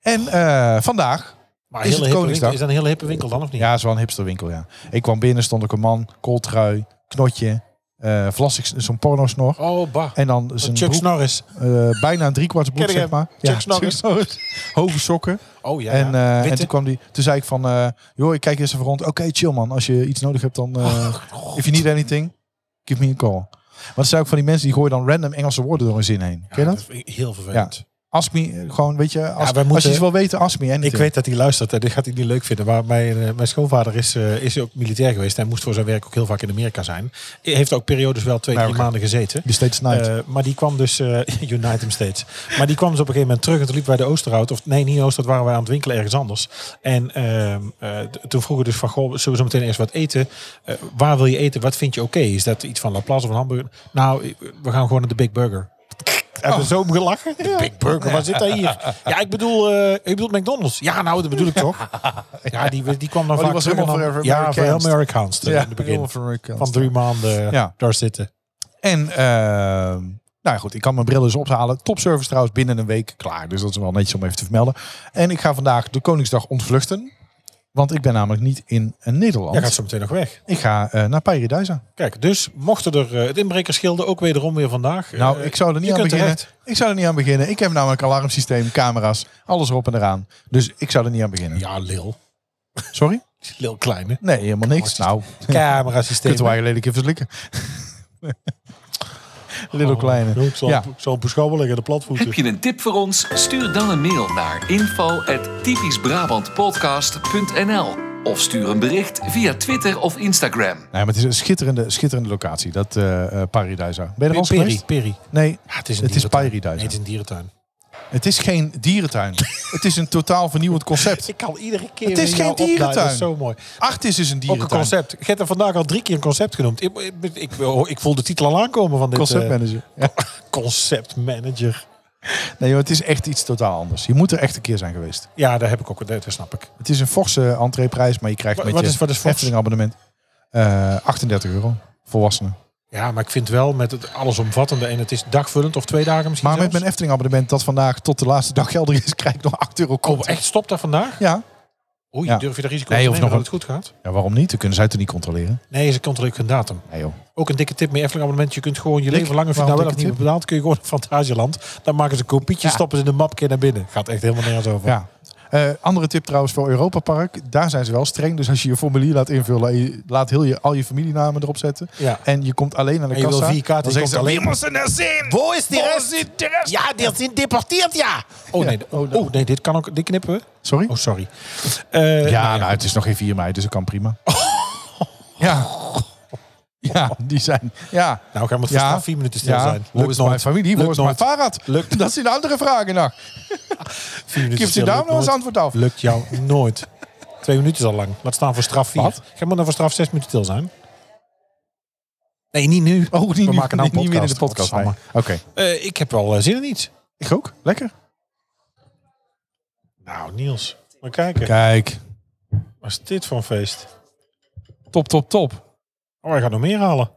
B: En eh, vandaag,
C: maar
B: Is
C: heel
B: het
C: hippe
B: Koningsdag?
C: winkel, is dat een hele hippe winkel dan of niet?
B: ja, het is wel een hipsterwinkel, ja. Ik kwam binnen, stond ook een man, kooltrui, knotje, eh vlassig, zo'n pornosnor.
C: Oh, bah.
B: En dan zijn
C: Chuck
B: broek,
C: Norris.
B: eh, bijna een driekwart broek,
C: Ken ik
B: zeg
C: hem?
B: maar.
C: Chuck Norris.
B: [laughs] Hovensokken.
C: Oh ja,
B: en,
C: ja.
B: eh, en
C: Witte.
B: toen kwam die, toen zei ik van, eh, joh, ik kijk eerst even rond. Oké, chill man, als je iets nodig hebt, dan,
C: Oh,
B: eh if you need anything, give me a call. Maar dat zijn ook van die mensen die gooien dan random Engelse woorden door hun zin heen. Ken je
C: Ja,
B: dat?
C: vind ik heel vervelend.
B: Ask me, eh, gewoon, weet je, als,
C: Ja, wij
B: als je
C: moeten-
B: iets wil weten, ask me anything.
C: Ik weet dat hij luistert en dit gaat hij niet leuk vinden. Maar mijn, eh, mijn schoonvader is, eh, is ook militair geweest. Hij moest voor zijn werk ook heel vaak in Amerika zijn. Hij heeft ook periodes wel twee,
B: Ja,
C: drie
B: oké.
C: maanden gezeten.
B: Die steeds snijdt.
C: Eh, maar die kwam dus, eh [laughs] Unite hem steeds. Maar die kwam dus op een gegeven moment terug en toen liepen wij de Oosterhout. Of nee, niet Oosterhout, waren wij aan het winkelen ergens anders. En ehm, eh, t- toen vroegen we dus van, goh, zullen we zo meteen eerst wat eten? Eh, waar wil je eten? Wat vind je oké? Is dat iets van Laplace of een hamburger? Nou, eh, we gaan gewoon naar de Big Burger. Hebben
B: Oh.
C: we zo om
B: [laughs]
C: gelachen? [laughs] De Big Burger, waar zit hij [laughs] hier? Ja, ik bedoel, eh ik bedoel McDonald's. Ja, nou, dat bedoel ik toch? Ja, die, die kwam dan
B: Oh, die
C: vaak
B: was
C: terug en
B: helemaal
C: dan-
B: voor
C: Ja, voor
B: Amerikaans.
C: Amerikaans. eh, in het begin.
B: helemaal verrukkend.
C: Van drie maanden
B: Ja.
C: daar zitten.
B: En, ehm, nou ja, goed, ik kan mijn brillen dus ophalen. Topservice trouwens binnen een week klaar. Dus dat is wel netjes om even te vermelden. En ik ga vandaag de Koningsdag ontvluchten. Want ik ben namelijk niet in eh, Nederland.
C: Jij gaat zo meteen nog weg.
B: Ik ga eh, naar Paradijsa.
C: Kijk, dus mochten er eh, het inbrekersgilde ook wederom weer vandaag.
B: Nou,
C: eh,
B: ik zou er niet
C: je
B: aan
C: kunt
B: beginnen.
C: terecht.
B: Ik zou er niet aan beginnen. Ik heb namelijk alarmsysteem, camera's, alles erop en eraan. Dus ik zou er niet aan beginnen.
C: Ja, lil.
B: Sorry?
C: Lil kleine.
B: Nee, helemaal niks. Nou,
C: Camera
B: kunt
C: systeem.
B: wij lelijk even slikken. [laughs]
C: Oh,
B: Little kleine.
C: Zo'n
B: Ja.
C: zo beschouwelijk en de platvoeten.
A: Heb je een tip voor ons? Stuur dan een mail naar info@typischbrabantpodcast.nl of stuur een bericht via Twitter of Instagram.
B: Nee, maar het is een schitterende, schitterende locatie, dat eh eh, Paradijsa. Ben je er al eens
C: Peri,
B: geweest?
C: Peri.
B: Nee,
C: Ja, het is een
B: het is
C: dierentuin.
B: Paradijsa.
C: Nee, het is een dierentuin.
B: het is geen
C: [laughs]
B: dierentuin. het is een totaal vernieuwend concept.
C: Ik kan iedere keer
B: Het is geen
C: weer jou opdagen,
B: dierentuin.
C: Dat is zo mooi.
B: Artis is een
C: Ook een
B: dierentuin.
C: concept. Je hebt er vandaag al drie keer een concept genoemd. Ik, ik, ik, oh, ik voel de titel al aankomen van dit. eh, [laughs]
B: Conceptmanager. Ja.
C: conceptmanager.
B: Nee, maar het is echt iets totaal anders. Je moet er echt een keer zijn geweest.
C: Ja, daar heb ik ook. Dat snap ik.
B: Het is een forse entreeprijs, maar je krijgt
C: Wa-
B: met
C: wat
B: je
C: is- wat is fors?
B: Efteling abonnement eh, 38 euro. Volwassenen.
C: Ja, maar ik vind wel met het allesomvattende en het is dagvullend of twee dagen misschien
B: Maar met
C: zelfs.
B: mijn Efteling abonnement dat vandaag tot de laatste dag geldig is, [laughs] krijg ik nog 8 euro
C: Oh,
B: korting.
C: echt stopt daar vandaag?
B: Ja.
C: Oei,
B: Ja.
C: durf je daar risico
B: Nee,
C: op
B: of
C: te nemen
B: nog
C: dat het goed gaat?
B: ja, waarom niet? Dan kunnen zij het niet controleren.
C: Nee, ze controleren ook een datum.
B: Nee joh.
C: Ook een dikke tip met Efteling abonnement. Je kunt gewoon je
B: Dik,
C: leven lang, of je het nou
B: waarom
C: wel of
B: dikke
C: niet betaalt, kun je gewoon naar Fantasieland. Dan maken ze een kopietje,
B: Ja.
C: stoppen ze in de mapje naar binnen. Gaat echt helemaal nergens over.
B: Ja. Eh, andere tip trouwens voor Europa Park. Daar zijn ze wel streng. Dus als je je formulier laat invullen, en je laat heel je, al je familienamen erop zetten.
C: Ja.
B: En je komt alleen aan de
C: En je wil
B: kassa.
C: vier kaarten,
B: dan
C: je
B: zeggen
C: komt
B: ze,
C: alleen maar-
B: "Wie moet er zijn?
C: Wo is die
B: Wo
C: rest?
B: is de rest?"
C: Ja, die zijn deporteerd, ja! Oh
B: Ja.
C: nee, oh, oh, nee dit kan ook, dit knippen we.
B: Sorry?
C: Oh, sorry. Eh,
B: ja, nou, het is nog geen 4 mei, dus dat kan
C: [laughs]
B: prima. Ja. Ja, die zijn... Ja.
C: Nou gaan we het
B: Ja.
C: ja. vier minuten stil
B: ja.
C: zijn.
B: Wo is mijn familie? Wo
C: Lukt
B: is mijn
C: nooit.
B: farad? [laughs]
C: Lukt.
B: Dat is de andere vraag nog.
C: Vier minuten
B: Geef ze
C: stil,
B: daar
C: lukt
B: nou eens
C: nooit.
B: antwoord af.
C: Lukt jou nooit. Twee minuten is al lang. Laat staan voor straf vier.
B: Wat?
C: Ga maar dan voor straf zes minuten stil zijn. Nee, niet nu.
B: Oh, niet,
C: We
B: nu-
C: maken nou
B: niet, niet meer in de
C: podcast.
B: podcast. nee. Oké.
C: Eh, ik heb wel eh, zin in iets.
B: Ik ook. Lekker.
C: Nou, Niels. Maar kijken.
B: Kijk.
C: Wat is dit voor een feest?
B: Top, top, top.
C: Oh, hij gaat nog meer halen.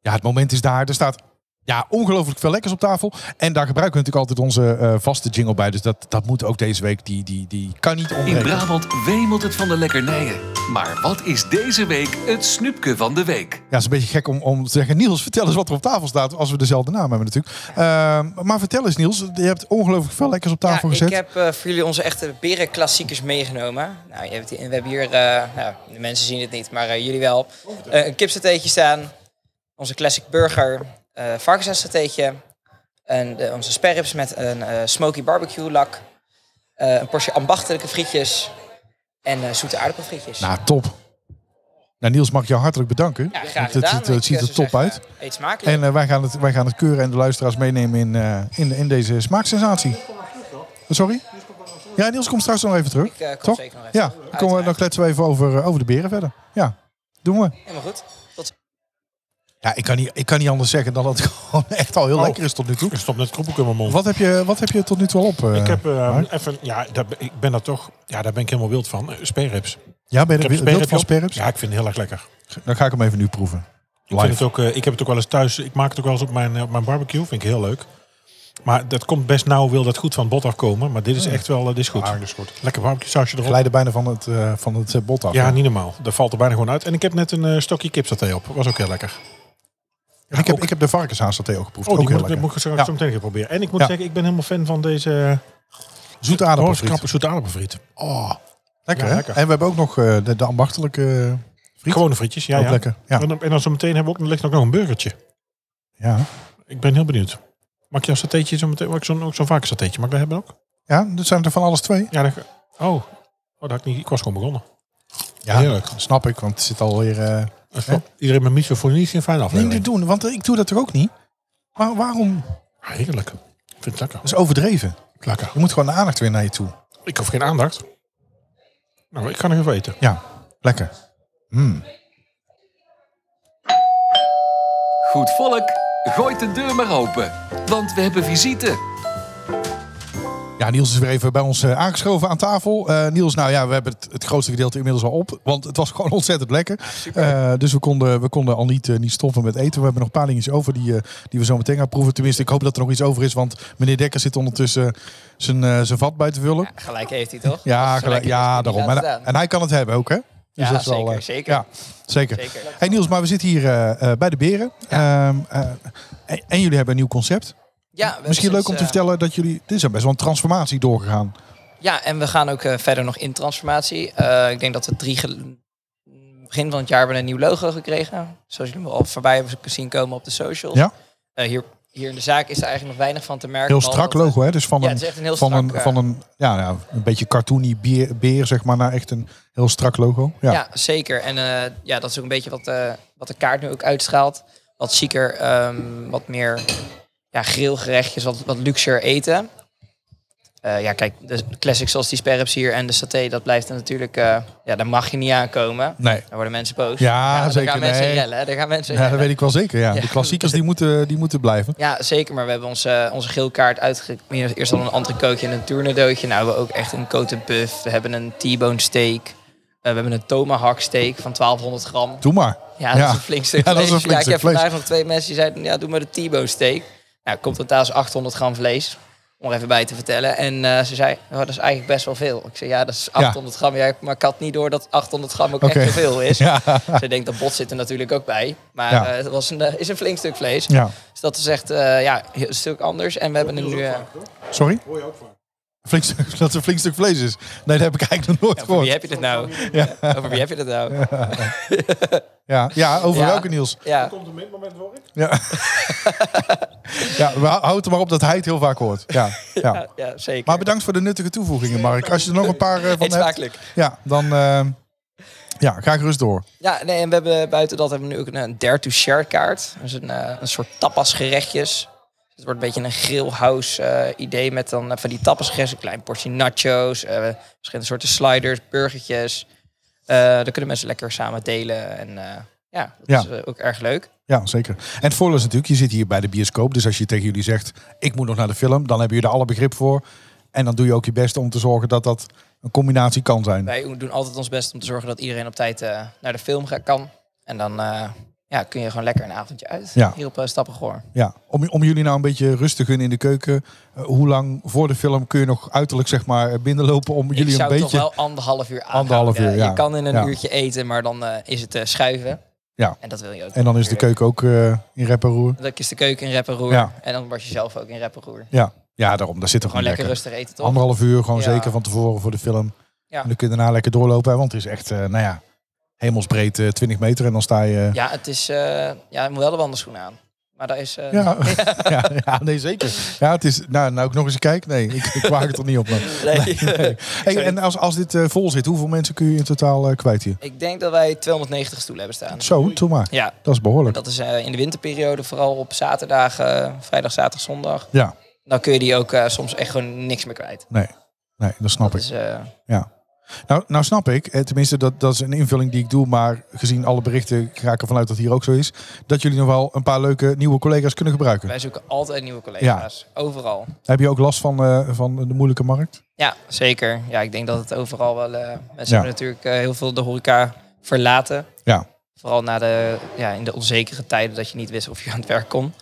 B: Ja, het moment is daar. Er staat ja, ongelooflijk veel lekkers op tafel. En daar gebruiken we natuurlijk altijd onze eh, vaste jingle bij. Dus dat, dat moet ook deze week. Die, die, die kan niet
A: In
B: ontbreken.
A: Brabant wemelt het van de lekkernijen. Maar wat is deze week het snoepje van de week?
B: Ja, het is een beetje gek om, om te zeggen... Niels, vertel eens wat er op tafel staat. Als we dezelfde naam hebben natuurlijk. Ehm, maar vertel eens Niels. Je hebt ongelooflijk veel lekkers op tafel
D: ja,
B: gezet.
D: Ik heb eh, voor jullie onze echte berenklassiekers meegenomen. Nou, je hebt hier- we hebben hier, eh, nou, de mensen zien het niet, maar eh, jullie wel. Eh, een kipsateetje staan, onze classic burger, eh varkensateetje, en eh, onze sperrips met een eh, smoky barbecue lak, eh, een portie ambachtelijke frietjes en eh, zoete aardappelfrietjes.
B: Nou, top. Nou, Niels, mag ik jou hartelijk bedanken.
D: ja, graag
B: Want het,
D: gedaan.
B: het, het
D: Ik,
B: ziet
D: eh,
B: er
D: zou
B: top uit.
D: zeggen, Eet smakelijk.
B: En eh, wij, gaan het, wij gaan het keuren en de luisteraars meenemen in, eh, in, in deze smaaksensatie. Sorry? Ja, Niels komt straks nog even terug.
D: Ik, eh, kom
B: toch?
D: zeker nog even
B: ja,
D: terug.
B: dan komen we, dan
D: Uiteraard.
B: kletsen we even over, eh, over de beren verder. Ja, doen we.
D: Helemaal goed. Tot
B: Ja, ik kan niet, ik kan niet anders zeggen dan dat het [laughs] gewoon echt al heel
C: Oh.
B: lekker is tot nu toe.
C: Ik stop net kroepelk in mijn mond.
B: Wat heb je, wat heb je tot nu toe al op? eh,
C: Ik heb eh,
B: Mark?
C: even, ja, daar, ben- ik ben daar toch, ja, daar ben ik helemaal wild van. Eh, Sperrips.
B: ja, ben
C: Ik
B: je
C: heb
B: er wild van
C: op.
B: sperps?
C: Ja, ik vind het heel erg lekker.
B: Dan ga ik hem even nu proeven.
C: Ik, vind
B: Live.
C: het ook, eh, ik heb het ook wel eens thuis, ik maak het ook wel eens op mijn, eh, op mijn barbecue, vind ik heel leuk. Maar dat komt best nauw, wil dat goed van het bot afkomen. Maar dit is echt wel, eh, dit is goed.
B: Ah, dat is goed.
C: Lekker barbecue sausje erop.
B: Glijden bijna van het, eh, van het eh, bot af.
C: Ja, niet normaal. Dat valt er bijna gewoon uit. En ik heb net een eh, stokje kipsaté op. Was ook heel lekker.
B: En ik, heb, ik heb de varkenshaansaté ook geproefd.
C: Oh,
B: ook
C: die
B: heel
C: moet, ik- dat
B: lekker.
C: moet ik straks
B: Ja.
C: zo meteen gaan proberen. En ik moet
B: Ja.
C: zeggen, ik ben helemaal fan van deze
B: Zoete
C: eh,
B: aardappels.
C: hoorskrappe zoete aardappelfriet.
B: Oh, lekker
C: Ja,
B: hè?
C: lekker.
B: En we hebben ook nog eh, de, de ambachtelijke eh, friet.
C: Gewone frietjes, ja.
B: ook
C: ja.
B: lekker. Ja.
C: En, dan, en dan zo meteen hebben we ook, er ligt ook nog een burgertje.
B: Ja.
C: Ik ben heel benieuwd. Mag ik jouw satéetje zo meteen? Mag ik zo'n ook zo'n vaak satéetje? Mag ik dat hebben ook?
B: ja, dat zijn er van alles twee.
C: Ja, dat, oh. oh, dat had ik niet. Ik was gewoon begonnen.
B: Ja,
C: Heerlijk.
B: Snap ik, want het zit alweer... eh
C: Dat is wel- Iedereen met misofonie is een fijne
B: niet
C: aflevering.
B: te doen, want eh, ik doe dat toch ook niet? Maar waarom?
C: Ah, Heerlijk. Ik vind het lekker.
B: Dat is overdreven.
C: Lekker.
B: Je moet gewoon de aandacht weer naar je toe.
C: Dus Ik hoef geen aandacht. Nou, ik ga nog even eten.
B: Ja, lekker. Mm.
A: Goed volk, gooit de deur maar open, want we hebben visite.
B: Ja, Niels is weer even bij ons eh, aangeschoven aan tafel. Eh, Niels, nou ja, we hebben het, het grootste gedeelte inmiddels al op. Want het was [laughs] gewoon ontzettend lekker. Eh, dus we konden, we konden al niet, eh, niet stoppen met eten. We hebben nog een paar dingetjes over die, eh, die we zo meteen gaan proeven. Tenminste, ik hoop dat er nog iets over is. Want meneer Dekker zit ondertussen eh, zijn, eh, zijn vat bij te vullen.
D: Ja, gelijk heeft hij toch?
B: Ja,
D: Als het
B: gelijk-
D: zo lekker dus is,
B: ja
D: moet je
B: daarom.
D: laten
B: En,
D: staan.
B: en hij kan het hebben ook, hè?
D: Ja,
B: is wel,
D: zeker,
B: eh,
D: zeker.
B: Ja, zeker.
D: Zeker.
B: Hey Niels, maar we zitten hier eh, eh, bij de Beren. Ehm, eh, en, en jullie hebben een nieuw concept.
D: Ja, we hebben
B: Misschien leuk
D: sinds,
B: om te
D: eh,
B: vertellen dat jullie... Dit is best wel een transformatie doorgegaan.
D: Ja, en we gaan ook eh, verder nog in transformatie. Eh, ik denk dat we drie gel- begin van het jaar hebben we een nieuw logo gekregen. Zoals jullie hem al voorbij hebben zien komen op de socials.
B: Ja.
D: Eh, hier, hier in de zaak is er eigenlijk nog weinig van te merken.
B: Heel
D: behalve
B: strak
D: dat het-
B: logo, hè? Dus van
D: Ja,
B: een,
D: het is echt een heel
B: van
D: strak,
B: een,
D: eh,
B: van een, ja, ja, een beetje cartoony beer, beer, zeg maar, naar echt een heel strak logo. Ja,
D: Ja, zeker. En eh, ja, dat is ook een beetje wat, eh, wat de kaart nu ook uitstraalt. Wat zieker, ehm, wat meer ja, grillgerechtjes, wat, wat luxer eten. Eh, ja, kijk, de classics zoals die sperrips hier en de saté, dat blijft er natuurlijk... eh, ja, daar mag je niet aankomen.
B: nee.
D: Dan worden mensen boos.
B: Ja, zeker,
D: Daar gaan mensen
B: nee.
D: rellen. hè. Daar gaan mensen
B: Ja, dat
D: rellen.
B: weet ik wel zeker. Ja.
D: Ja.
B: De klassiekers die moeten, die moeten blijven.
D: Ja, zeker. Maar we hebben onze, onze geelkaart uitge... Eerst al een andere kookje en een tournadootje. Nou, we hebben ook echt een cote buff. We hebben een T-bone steak. we hebben een tomahawk steak van 1200 gram.
B: Doe maar.
D: Ja, dat is een flink stuk
B: Ja, dat is
D: vlees.
B: een flink
D: ja, ik heb
B: stuk vlees.
D: vandaag nog twee mensen die zeiden, ja, doe maar de T-bone steak. Nou, komt er thuis 800 gram vlees, om er even bij te vertellen. En eh, ze zei, oh, dat is eigenlijk best wel veel. Ik zei, ja, dat is 800 gram. Ja, maar ik had niet door dat 800 gram ook
B: Oké.
D: echt veel
B: [laughs]
D: is.
B: Ja.
D: Ze denkt, dat bot zit er natuurlijk ook bij. Maar
B: Ja.
D: eh, het was een, eh, is een flink stuk vlees.
B: ja.
D: Dus dat is echt eh, ja, heel- een stuk anders. En we hebben er nu... eh,
B: Sorry?
C: Hoor je ook vaak.
B: Flink stuk- [laughs] dat het een flink stuk vlees is. Nee, dat heb ik eigenlijk nog nooit
D: over
B: gehoord.
D: wie heb je dat nou?
B: Ja.
D: Over wie heb je dat nou?
B: Ja, ja over
D: Ja.
B: welke Niels?
D: Ja.
C: Komt een moment voor ik?
B: Ja. [laughs] ja, maar houd er maar op dat hij het heel vaak hoort. Ja, ja.
D: [laughs] Ja, zeker.
B: Maar bedankt voor de nuttige toevoegingen, Mark. Als je er nog een paar eh, van
D: Eet
B: hebt,
D: smakelijk.
B: ja, dan eh, ja, ga gerust door.
D: Ja, nee, en we hebben buiten dat hebben we nu ook een, eh, dare to share kaart. Dus een, eh, een soort tapasgerechtjes. Het wordt een beetje een grillhouse eh, idee met dan eh, van die tapasgerechten. Een klein portie nachos, eh, verschillende soorten sliders, burgertjes. Eh daar kunnen mensen lekker samen delen. En eh, ja, dat
B: Ja.
D: is eh, ook erg leuk.
B: Ja, zeker. En het voordeel is natuurlijk, je zit hier bij de bioscoop. Dus als je tegen jullie zegt, ik moet nog naar de film, dan hebben jullie er alle begrip voor. En dan doe je ook je best om te zorgen dat dat een combinatie kan zijn.
D: Wij doen altijd ons best om te zorgen dat iedereen op tijd eh, naar de film ga- kan. En dan eh, ja, kun je gewoon lekker een avondje uit
B: Ja.
D: hier op uh, Stappengoor.
B: Ja, om, om jullie nou een beetje rust te gunnen in de keuken. eh, hoe lang voor de film kun je nog uiterlijk zeg maar binnenlopen om jullie
D: ik
B: een
D: zou
B: beetje...
D: toch wel anderhalf uur aan.
B: Anderhalf uur, ja.
D: Je kan in een
B: Ja.
D: uurtje eten, maar dan eh, is het eh, schuiven.
B: Ja.
D: En dat wil je ook.
B: En dan is de keuken ook eh, in rep en roer.
D: Dan is de keuken in rep en roer.
B: Ja.
D: En dan was je zelf ook in rep en roer. Gewoon
B: Ja, ja daarom. Daar zit er gewoon
D: lekker,
B: lekker.
D: rustig eten, toch?
B: Anderhalf uur gewoon
D: Ja.
B: zeker van tevoren voor de film.
D: Ja.
B: En dan kun je daarna lekker doorlopen. hè, Want het is echt, eh, nou ja, hemelsbreed eh, 20 meter. En dan sta je... eh,
D: Ja, het is... eh, ja, je moet wel de wandelschoen aan. Maar daar is...
B: [laughs]
D: eh,
B: Ja. Ja, ja, nee zeker. Ja, het is, nou, nou ik nog eens kijk. Nee, ik, ik waag het er niet op. maar-
D: nee. [laughs]
B: Hey, en als, als dit eh, vol zit, hoeveel mensen kun je in totaal eh, kwijt hier?
D: Ik denk dat wij 290 stoelen hebben staan.
B: Zo, doe maar.
D: Ja,
B: Dat is behoorlijk.
D: dat is eh, in de winterperiode vooral op zaterdagen, eh, vrijdag, zaterdag, zondag.
B: Ja,
D: Dan kun je die ook eh, soms echt gewoon niks meer kwijt.
B: nee. Nee, dat snap ik.
D: Dus, eh,
B: Nou, nou snap ik, eh, tenminste dat, dat is een invulling die ik doe, maar gezien alle berichten ga ik ervan uit dat hier ook zo is, dat jullie nog wel een paar leuke nieuwe collega's kunnen gebruiken.
D: wij zoeken altijd nieuwe collega's. Overal.
B: Heb je ook last van, eh, van de moeilijke markt?
D: Ja, zeker. Ja, ik denk dat het overal wel... eh, mensen
B: Ja.
D: hebben natuurlijk eh, heel veel de horeca verlaten.
B: Ja.
D: Vooral na de, ja, in de onzekere tijden dat je niet wist of je aan het werk kon.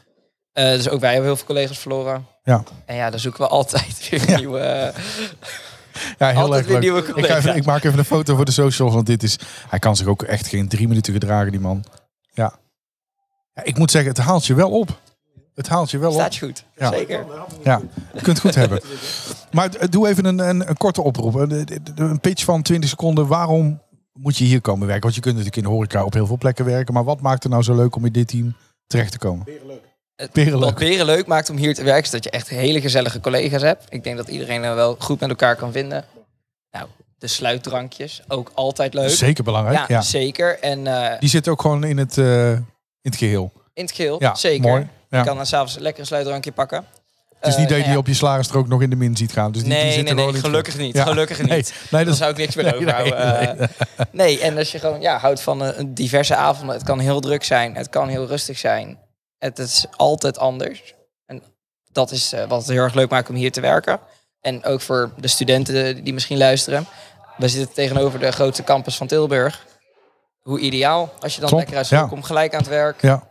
D: Eh, dus ook wij hebben heel veel collega's verloren.
B: Ja.
D: En ja, daar zoeken we [laughs] altijd weer
B: Ja.
D: nieuwe... eh,
B: Ja, heel
D: Altijd
B: erg
D: weer
B: leuk.
D: nieuwe
B: ik, ga
D: collega's.
B: even, ik maak even een foto voor de socials, want dit is, hij kan zich ook echt geen drie minuten gedragen, die man. Ja. ja ik moet zeggen, het haalt je wel op. Het haalt je wel op.
D: Staat je goed.
B: Ja.
D: Zeker.
B: Ja, je kunt het goed hebben. [laughs] Maar d- doe even een, een, een korte oproep. Een, een- een pitch van 20 seconden. Waarom moet je hier komen werken? Want je kunt natuurlijk in de horeca op heel veel plekken werken. Maar wat maakt het nou zo leuk om in dit team terecht te komen?
D: Wat
B: Berenleuk.
D: Beren leuk maakt om hier te werken, is dat je echt hele gezellige collega's hebt. Ik denk dat iedereen er wel goed met elkaar kan vinden. Nou, de sluitdrankjes, ook altijd leuk.
B: Zeker belangrijk. Ja,
D: Ja, zeker. En eh,
B: Die zit ook gewoon in het, eh, in het geheel.
D: in het geel,
B: Ja,
D: Oh, zeker.
B: mooi. Ja.
D: Je kan dan s'avonds lekker een sluitdrankje pakken.
B: het is
D: Eh,
B: niet dat je
D: nou
B: die
D: ja.
B: op je slagerstrook nog in de min ziet gaan. Dus die, die
D: nee,
B: zit
D: nee,
B: er
D: nee,
B: gewoon in het
D: gelukkig niet.
B: Ja.
D: Gelukkig
B: geheel.
D: niet.
B: Nee, nee,
D: [laughs] Dan
B: dat is,
D: zou ik niks meer overhouden. Eh, Nee, en als je gewoon ja, houdt van eh, een diverse avonden. Het kan heel druk zijn. Het kan heel rustig zijn. Het is altijd anders. En dat is eh, wat het heel erg leuk maakt om hier te werken. En ook voor de studenten die misschien luisteren. We zitten tegenover de grootste campus van Tilburg. Hoe ideaal. Als je dan
B: Top,
D: lekker uit school
B: ja.
D: komt, gelijk aan het werk.
B: ja,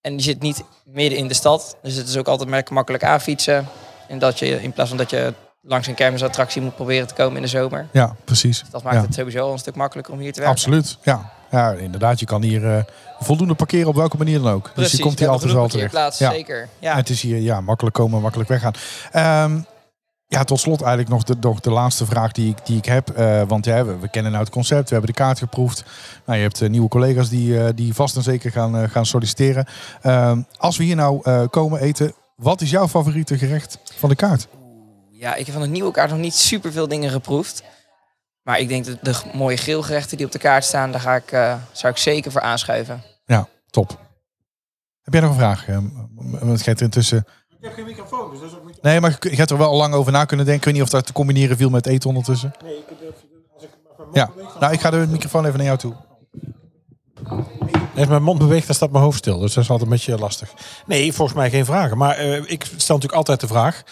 D: En die zit niet midden in de stad. Dus het is ook altijd lekker makkelijk aanfietsen. En dat je in plaats van dat je langs een kermisattractie moet proberen te komen in de zomer.
B: ja, precies.
D: Dus Dat maakt
B: Ja.
D: het eh, sowieso al een stuk makkelijker om hier te werken.
B: Absoluut. Ja. ja, inderdaad. Je kan hier eh, voldoende parkeren op welke manier dan ook. dus je komt hier
D: we
B: altijd
D: hebben
B: wel
D: genoeg
B: terecht.
D: parkeerplaatsen,
B: Ja.
D: Zeker. Ja.
B: Ja, Het is hier ja, makkelijk komen, makkelijk weggaan. Ehm, ja, tot slot eigenlijk nog de, nog de laatste vraag die ik, die ik heb. Eh, want ja, we, we kennen nou het concept, we hebben de kaart geproefd. Nou, je hebt eh, nieuwe collega's die, eh, die vast en zeker gaan, eh, gaan solliciteren. Ehm, als we hier nou eh, komen eten, wat is jouw favoriete gerecht van de kaart?
D: ja, ik heb van het nieuwe kaart nog niet super veel dingen geproefd. Maar ik denk dat de g- mooie grillgerechten die op de kaart staan, daar ga ik, eh, zou ik zeker voor aanschuiven.
B: Ja, top. Heb jij nog een vraag? eh, m- Want jij hebt er intussen...
C: Ik heb geen microfoon, dus dat is ook niet...
B: Nee, maar je gaat er wel al lang over na kunnen denken. Ik weet niet of dat te combineren viel met eten ondertussen.
C: Nee, ik, als ik mijn mond
B: Ja, nou ik ga de microfoon even naar jou toe.
C: Als mijn mond beweegt, dan staat mijn hoofd stil. Dus dat is altijd een beetje lastig. Nee, volgens mij geen vragen. Maar eh, ik stel natuurlijk altijd de vraag... eh,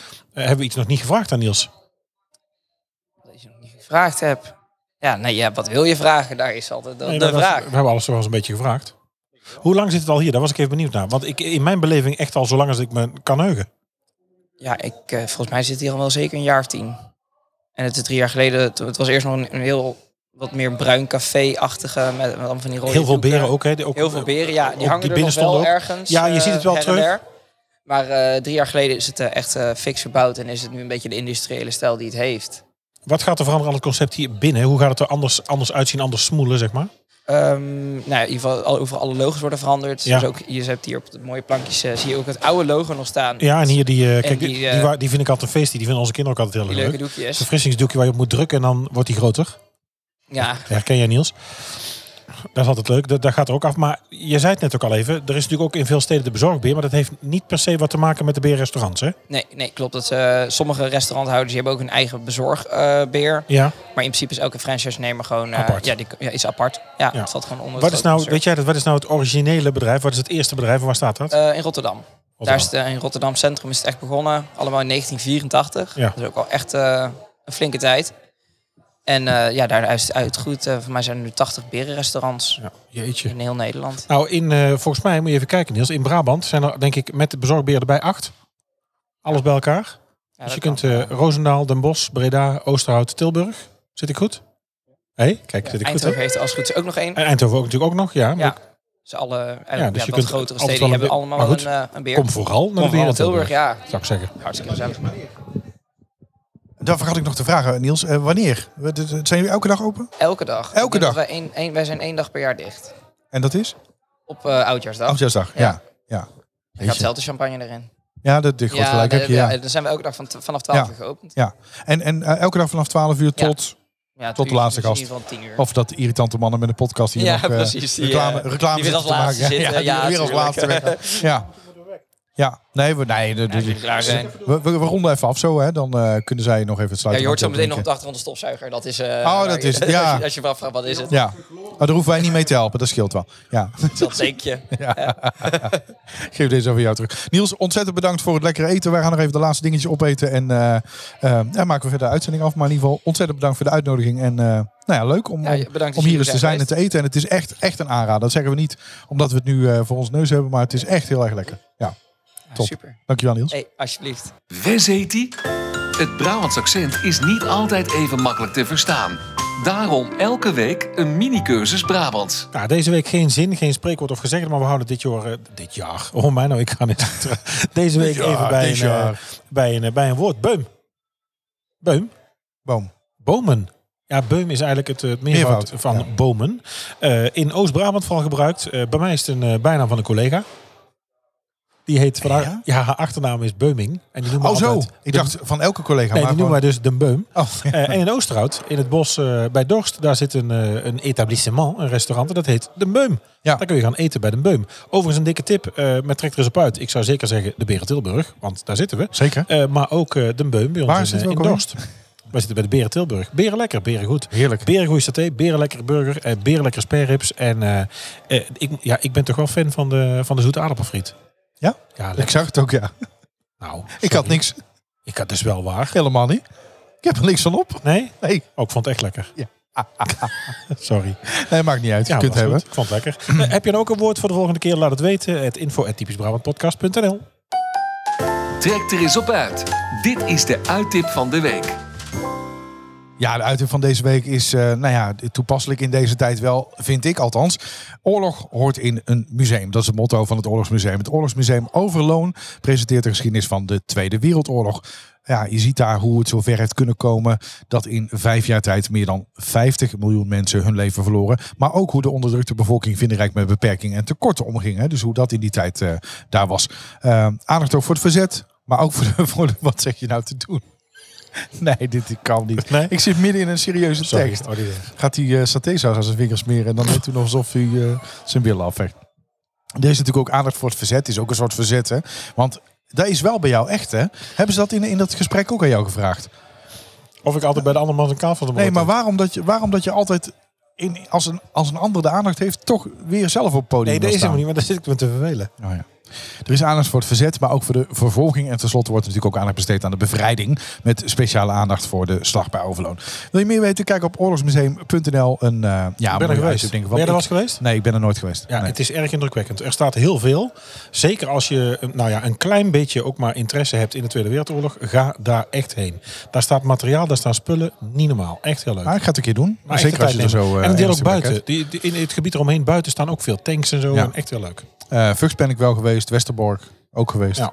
C: hebben we iets nog niet gevraagd aan Niels?
D: Dat je nog niet gevraagd hebt. Ja, nee, ja, wat wil je vragen? Daar is altijd de,
C: Nee,
D: de
C: maar dat-
D: vraag.
C: We hebben alles wel eens een beetje gevraagd. Hoe lang zit het al hier? Daar was ik even benieuwd naar. Want ik, in mijn beleving echt al zo lang als ik me kan heugen.
D: Ja, ik, eh, volgens mij zit hier al wel zeker een jaar of tien. En het is drie jaar geleden, toen- het was eerst nog een, een heel wat meer bruin café-achtige. Met, met allemaal van die rode
C: Heel veel
D: doeken.
C: beren ook. Hè? Die- ook
D: Heel veel beren, ja.
C: die
D: Die hangen er nog
C: binnenstonden
D: wel
C: ook.
D: ergens.
C: Ja, je
D: eh,
C: ziet het wel
D: her en
C: terug.
D: der. Maar eh, drie jaar geleden is het eh, echt eh, fix verbouwd en is het nu een beetje de industriële stijl die het heeft.
C: Wat gaat er veranderen aan het concept hier binnen? Hoe gaat het er anders, anders uitzien, anders smoelen, zeg maar?
D: Ehm, nou ja, in ieder geval al- overal alle logos worden veranderd.
C: Ja.
D: Dus ook, je hebt hier op de mooie plankjes eh, zie je ook het oude logo nog staan.
C: Ja, en hier die, eh, kijk,
D: die,
C: die, die,
D: eh,
C: wa- die vind ik altijd een feest. Die vinden onze kinderen ook altijd heel
D: die
C: erg
D: leuke
C: leuk. Het
D: doekjes.
C: verfrissingsdoekje waar je op moet drukken en dan wordt die groter.
D: Ja,
C: Herken jij Niels? Dat is altijd leuk. Dat, dat gaat er ook af. Maar je zei het net ook al even. Er is natuurlijk ook in veel steden de bezorgbeer. Maar dat heeft niet per se wat te maken met de beerrestaurants, hè?
D: nee, nee klopt. Dat, eh, sommige restauranthouders die hebben ook hun eigen bezorgbeer.
C: Ja.
D: maar in principe is elke franchise-nemer gewoon... eh,
C: Apart.
D: Ja, die, ja, is apart. Ja,
C: Ja.
D: het staat gewoon onder
C: Wat
D: het
C: is, nou,
D: hoofdbezorg.
C: weet jij dat, wat is nou het originele bedrijf? Wat is het eerste bedrijf en waar staat dat?
D: Eh, in Rotterdam. Daar is
C: Rotterdam.
D: het, eh, in Rotterdam Centrum is het echt begonnen. Allemaal in 1984.
C: Ja.
D: Dat is ook al echt eh, een flinke tijd. En eh, ja, daar is het uitgroeid. eh, voor mij zijn er nu 80 berenrestaurants
C: Ja, jeetje.
D: in heel Nederland.
C: Nou, in, eh, volgens mij, moet je even kijken Niels, in Brabant zijn er denk ik met de bezorgbeer erbij acht. Alles bij elkaar.
D: Ja,
C: dus je
D: dat
C: kunt
D: kan.
C: eh, Roosendaal, Den Bosch, Breda, Oosterhout, Tilburg. Zit ik goed? Hé, kijk, zit ik goed?
D: Eindhoven
C: hè?
D: heeft als het goed is ook nog één.
C: En eh, Eindhoven ook natuurlijk ook nog, ja. Maar
D: Ja. Dus alle eh,
C: Ja,
D: ja,
C: dus je
D: wat
C: kunt
D: grotere
C: altijd wel
D: steden die hebben
C: een
D: allemaal
C: be-
D: wel
C: maar
D: een,
C: goed,
D: eh, een beer.
C: Kom vooral naar de
D: Kom
C: beer
D: van
C: in Tilburg,
D: Tilburg, ja.
C: zou ik zeggen.
D: Hartstikke gezellig.
B: Daar vergat ik nog te vragen, Niels. Eh, wanneer? We- d- d- Zijn jullie elke dag open?
D: Elke dag. Ik
B: Elke dag?
D: denk dat Wij, één, één- wij zijn één dag per jaar dicht.
B: En dat is?
D: Op eh oudjaarsdag.
C: Oh,
B: Oudjaarsdag, ja. Ja,
D: Er gaat zelden champagne erin.
B: ja dat dit goed gelijk
D: nee,
B: heb je. Ja.
D: dan zijn we elke dag van t- vanaf 12
B: Ja.
D: uur geopend.
B: Ja. En, en eh, elke dag vanaf 12 uur
D: Ja.
B: tot...
D: Ja, het
B: Tot de
D: uur-
B: laatste
D: dus in
B: gast.
D: ieder geval 10 uur.
B: Of dat de irritante mannen met een podcast hier
D: Ja,
B: nog eh,
D: precies, die,
B: reclame,
D: eh,
B: reclame
D: die weer als
B: zitten te
D: laatste
B: maken.
D: zitten,
B: die
D: ja,
B: weer als
D: tuurlijk.
B: laatste weg.
D: [laughs]
B: Ja. Ja, nee, we, nee, de- de-
D: jullie klaar zijn.
B: we, we, we ronden even af zo, hè. dan eh, kunnen zij nog even het
D: Ja,
B: sluiten.
D: je hoort zo meteen nog op de achtergrond de stofzuiger. Dat is... eh, waar
B: Oh, dat
D: je-
B: is- ja.
D: [laughs] als je- Als je me afvraagt, wat is het?
B: Ja, maar daar hoeven wij niet mee te helpen, dat scheelt wel. Ja,
D: Dat zeker.
B: geef deze over jou terug. Niels, ontzettend bedankt voor het lekkere eten. Wij gaan nog even de laatste dingetjes opeten en, eh, eh, en maken we verder de uitzending af. Maar in ieder geval ontzettend bedankt voor de uitnodiging en eh, nou ja, leuk om,
D: Ja, bedankt dat
B: om
D: jullie
B: hier eens te
D: zijn
B: zijn en
D: geweest.
B: te eten. En het is echt, echt een aanrader. Dat zeggen we niet omdat we het nu eh, voor ons neus hebben, maar het is echt heel erg lekker. Ja, top.
D: super.
B: Dankjewel Niels.
D: Hey, alsjeblieft.
A: Wes heet die? Het Brabants accent is niet altijd even makkelijk te verstaan. Daarom elke week een mini-cursus Brabants.
C: Nou, deze week geen zin, geen spreekwoord of gezegd, maar we houden dit jaar, eh, dit jaar, oh mij nou, ik ga niet [laughs] terug. Deze week
B: jaar,
C: even bij
B: dit
C: een, eh,
B: jaar.
C: bij, een, eh, bij een woord. Beum. Beum.
B: Boom.
C: Bomen. Ja, beum is eigenlijk het, eh, het meervoud
B: Meervoud,
C: van
B: ja.
C: bomen. Eh, in Oost-Brabant vooral gebruikt. Eh, bij mij is het een eh, bijnaam van een collega. Die heet vandaag, ja?
B: Ja?
C: haar achternaam is Beuming. En die noemen
B: Oh
C: we
B: zo,
C: altijd de-
B: ik dacht van elke collega.
C: Nee,
B: maar
C: die noemen wij
B: gewoon-
C: dus
B: [laughs]
C: de Beum.
B: Oh, ja.
C: Eh, en in Oosterhout, in het bos eh, bij Dorst, daar zit een, eh, een etablissement, een restaurant, en dat heet De Beum.
B: Ja.
C: Daar kun je gaan eten bij De Beum. Overigens een dikke tip, eh met trek er eens op uit. Ik zou zeker zeggen de Beren Tilburg, want daar zitten we.
B: Zeker.
C: Eh, maar ook eh, De Beum bij ons
B: Waar
C: in,
B: zitten
C: eh,
B: we
C: in
B: ook
C: Dorst. Wij zitten bij de Beren Tilburg. Beren lekker, beren goed.
B: Heerlijk.
C: Beren goede saté, beren lekker burger, eh, beren lekker spareribs. En eh, eh, ik, ja, ik ben toch wel fan van de, van de zoete aardappelfriet.
B: Ja?
C: Ja,
B: Ik
C: lekker.
B: zag het ook, ja.
C: Nou,
B: Ik
C: sorry.
B: had niks.
C: Ik had dus wel waar.
B: Helemaal niet. Ik heb er niks van op.
C: Nee?
B: Nee,
C: Oh, ik vond het echt lekker.
B: Ja.
C: [laughs] Sorry.
B: nee maakt niet uit. Je
C: Ja,
B: kunt
C: was
B: hebben.
C: goed. Ik vond het lekker. Eh, heb je nou ook een woord voor de volgende keer? Laat het weten. Het info at typischbrabantpodcast.nl
A: Trek er eens op uit. Dit is de uittip van de week.
B: Ja, de uiting van deze week is eh, nou ja, toepasselijk in deze tijd wel, vind ik althans. Oorlog hoort in een museum. Dat is het motto van het Oorlogsmuseum. Het Oorlogsmuseum Overloon presenteert de geschiedenis van de Tweede Wereldoorlog. Ja, je ziet daar hoe het zover heeft kunnen komen dat in vijf jaar tijd meer dan 50 miljoen mensen hun leven verloren. Maar ook hoe de onderdrukte bevolking vindrijk met beperkingen en tekorten omging. Hè? Dus hoe dat in die tijd eh, daar was. Eh, aandacht ook voor het verzet, maar ook voor de, [laughs] voor de- wat zeg je nou te doen? [laughs] Nee, dit kan niet.
C: Nee?
B: Ik zit midden in een serieuze
C: Sorry.
B: tekst.
C: Oh, die-
B: Gaat hij eh satésaus aan zijn vingers smeren en dan doet hij nog alsof hij eh, zijn billen afvecht. Er is natuurlijk ook aandacht voor het verzet. is ook een soort verzet, hè? Want dat is wel bij jou echt, hè? Hebben ze dat in, in dat gesprek ook aan jou gevraagd?
C: Of ik altijd bij de andere man een kaal van de
B: Nee,
C: brood
B: maar
C: heb.
B: waarom dat je, waarom dat je altijd... In, als, een, als een ander de aandacht heeft, toch weer zelf op het podium
C: Nee, dat
B: wil
C: is helemaal
B: staan?
C: niet, maar daar zit ik me te vervelen.
B: Oh, ja. Er is aandacht voor het verzet, maar ook voor de vervolging. En tenslotte wordt natuurlijk ook aandacht besteed aan de bevrijding. Met speciale aandacht voor de slag bij Overloon. Wil je meer weten? Kijk op oorlogsmuseum.nl. Een, eh, ja,
C: Ik ben
B: mooie
C: er geweest.
B: uitzending van-
C: ben je er
B: Ik-
C: was geweest?
B: Nee, ik ben er nooit geweest.
C: Ja,
B: Nee.
C: het is erg indrukwekkend. Er staat heel veel. Zeker als je eh, nou ja, een klein beetje ook maar interesse hebt in de Tweede Wereldoorlog. Ga daar echt heen. Daar staat materiaal, daar staan spullen. Niet normaal. Echt heel leuk.
B: Maar Ah, ik ga het een keer doen.
C: Maar echt
B: Zeker
C: de
B: als je er
C: tijd
B: zo...
C: nemen.
B: eh,
C: en het deel ook
B: energie bij
C: buiten. Die, die- in het gebied eromheen buiten staan ook veel tanks en zo.
B: Ja.
C: En echt heel leuk.
B: hebt. Eh, Vught ben ik wel geweest. Westerbork ook geweest.
C: Ja.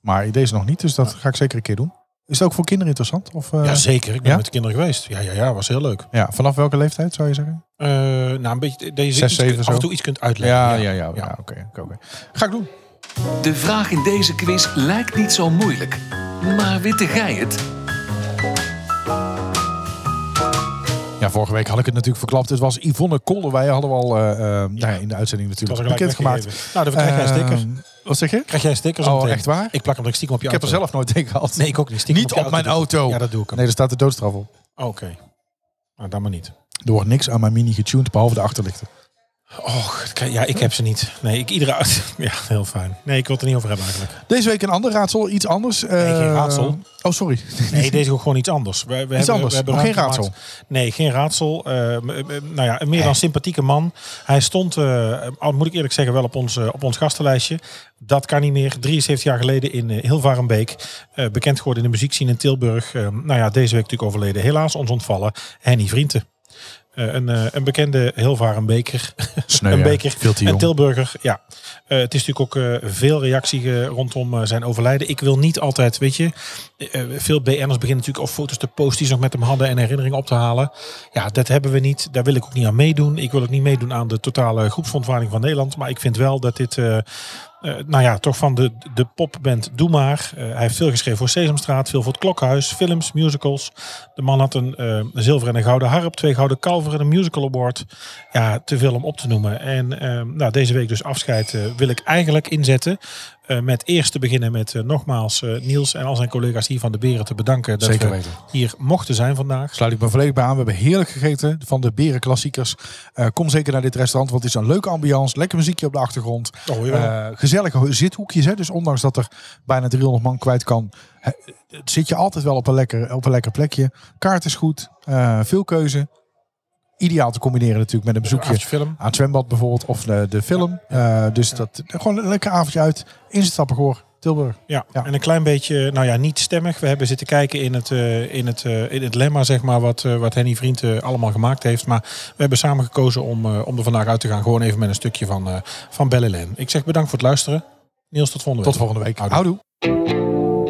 B: Maar deze nog niet, dus dat ga ik zeker een keer doen. Is het ook voor kinderen interessant? Of, eh,
C: ja, zeker. Ik ben
B: ja?
C: met de kinderen geweest. Ja, ja, ja. Was heel leuk.
B: ja, vanaf welke leeftijd zou je zeggen?
C: Eh, nou, een beetje deze
B: Zes, zeven,
C: af
B: zo.
C: en toe iets kunt uitleggen.
B: Ja, ja, ja. ja, oké. oké, oké. Ga ik doen.
A: De vraag in deze quiz lijkt niet zo moeilijk. Maar witte gij het?
B: Ja, vorige week had ik het natuurlijk verklapt. Het was Yvonne Kolderwij. Hadden we al eh, eh, nou ja, in de uitzending
C: Dat was
B: natuurlijk
C: er gelijk
B: bekendgemaakt.
C: weggegeven. Nou, dan krijg jij een sticker.
B: Eh, wat zeg je?
C: Krijg jij een sticker
B: Oh,
C: zo meteen.
B: echt waar?
C: Ik plak hem er stiekem op je
B: Ik heb er
C: auto.
B: zelf nooit tegen gehad.
C: Nee, ik ook niet. Stiekem
B: Niet
C: je
B: op mijn
C: doen.
B: auto.
C: Ja, dat doe ik hem.
B: Nee, daar staat de doodstraf op.
C: Oké. Nou, dan maar niet.
B: Er wordt niks aan mijn mini getuned, behalve de achterlichten.
C: Och, ik- ja, ik heb ze niet. Nee, ik iedere... [laughs] Ja, heel fijn. Nee, ik wil het er niet over hebben eigenlijk.
B: Deze week een ander raadsel, iets anders.
C: Nee, geen
B: Eh,
C: raadsel.
B: Oh, sorry.
C: Nee, deze is ook gewoon iets anders. We, we hebben,
B: anders,
C: We hebben
B: maar geen
C: ruimte
B: raadsel.
C: gemaakt. Nee, geen raadsel. Eh, m- m- nou ja, een meer dan sympathieke man. Hij stond, eh, al moet ik eerlijk zeggen, wel op ons, eh, op ons gastenlijstje. Dat kan niet meer. 73 jaar geleden in eh, Hilvarenbeek. Eh, bekend geworden in de muziekscene in Tilburg. Eh, nou ja, deze week natuurlijk overleden. Helaas ons ontvallen. Henny Vrienden. Eh, een, eh, een bekende Hilvarenbeker.
B: Sneu,
C: [laughs] een
B: ja.
C: beker.
B: Veel te
C: en
B: jong.
C: Tilburger, ja. Eh, het is natuurlijk ook eh, veel reactie eh, rondom eh, zijn overlijden. Ik wil niet altijd, weet je, eh, eh, veel BN'ers beginnen natuurlijk al foto's te posten die ze nog met hem hadden en herinneringen op te halen. Ja, dat hebben we niet. Daar wil ik ook niet aan meedoen. Ik wil ook niet meedoen aan de totale groepsverontwaardiging van Nederland. Maar ik vind wel dat dit, eh, eh, nou ja, toch van de, de popband Doe Maar. Eh, hij heeft veel geschreven voor Sesamstraat, veel voor het Klokhuis, films, musicals. De man had een eh, een zilveren en een gouden harp, twee gouden kalveren en een musical award. Ja, te veel om op te noemen. En eh, nou, deze week dus afscheid eh, wil ik eigenlijk inzetten. eh, met eerst te beginnen met eh, nogmaals eh, Niels en al zijn collega's hier van de Beren te bedanken. Dat
B: Zeker
C: we
B: weten.
C: hier mochten zijn vandaag.
B: Sluit ik me volledig bij aan. We hebben heerlijk gegeten van de Beren Klassiekers. Eh, kom zeker naar dit restaurant, want het is een leuke ambiance. Lekker muziekje op de achtergrond.
C: Oh,
B: Eh, gezellige zithoekjes. Hè? Dus ondanks dat er bijna 300 man kwijt kan, hè, het zit je altijd wel op een lekker, op een lekker plekje. Kaart is goed, eh, veel keuze. Ideaal te combineren natuurlijk met een bezoekje
C: film.
B: aan het zwembad bijvoorbeeld of de, de film. Eh, dus dat, gewoon een lekker avondje uit in Stappengoor, Tilburg.
C: Ja.
B: Ja.
C: en een klein beetje, nou ja, niet stemmig. We hebben zitten kijken in het, eh, in het, eh, in het lemma, zeg maar, wat, eh, wat Henny Vriend eh, allemaal gemaakt heeft. Maar we hebben samen gekozen om, eh, om er vandaag uit te gaan. Gewoon even met een stukje van, eh van Bellelen. Ik zeg bedankt voor het luisteren. Niels, tot volgende week.
B: Tot volgende week.
C: Houdoe.
B: Houdoe.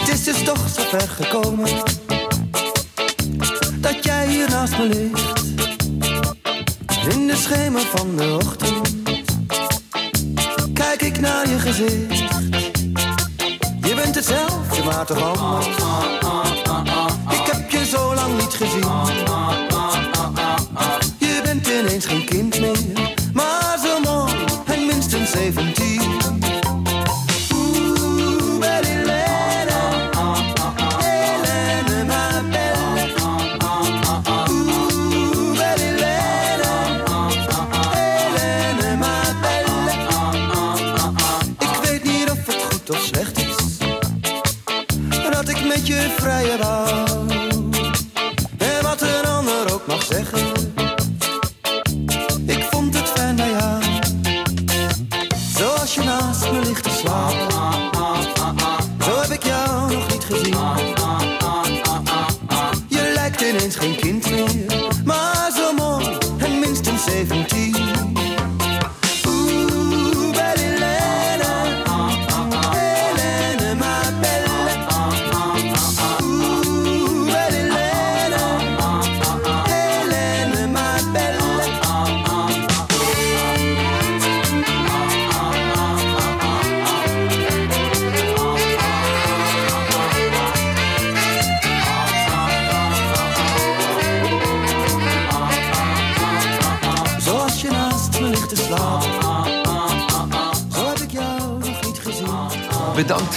E: Het is dus toch zo ver gekomen Dat jij hier naast me ligt In de schemer van de ochtend Kijk ik naar je gezicht Je bent hetzelfde, maar toch anders Ik heb je zo lang niet gezien Je bent ineens geen kind meer Maar zo mooi en minstens 17 Oeh, ben Helena. Helena, ma belle. Oeh, ben Helena. Helena, ma belle. Ik weet niet of het goed of slecht is dat ik met je vrije wou. En wat een ander ook mag zeggen, ik vond het fijn bij jou. Zoals je naast me ligt te slapen. Zo heb ik jou nog niet gezien. Je lijkt ineens geen kind meer, maar zo mooi en minstens 17. Oeh, belle Helena, Helena, ma belle. Oeh, belle Helena, Helena, ma belle. Zoals je naast me ligt te slapen.
A: Bedankt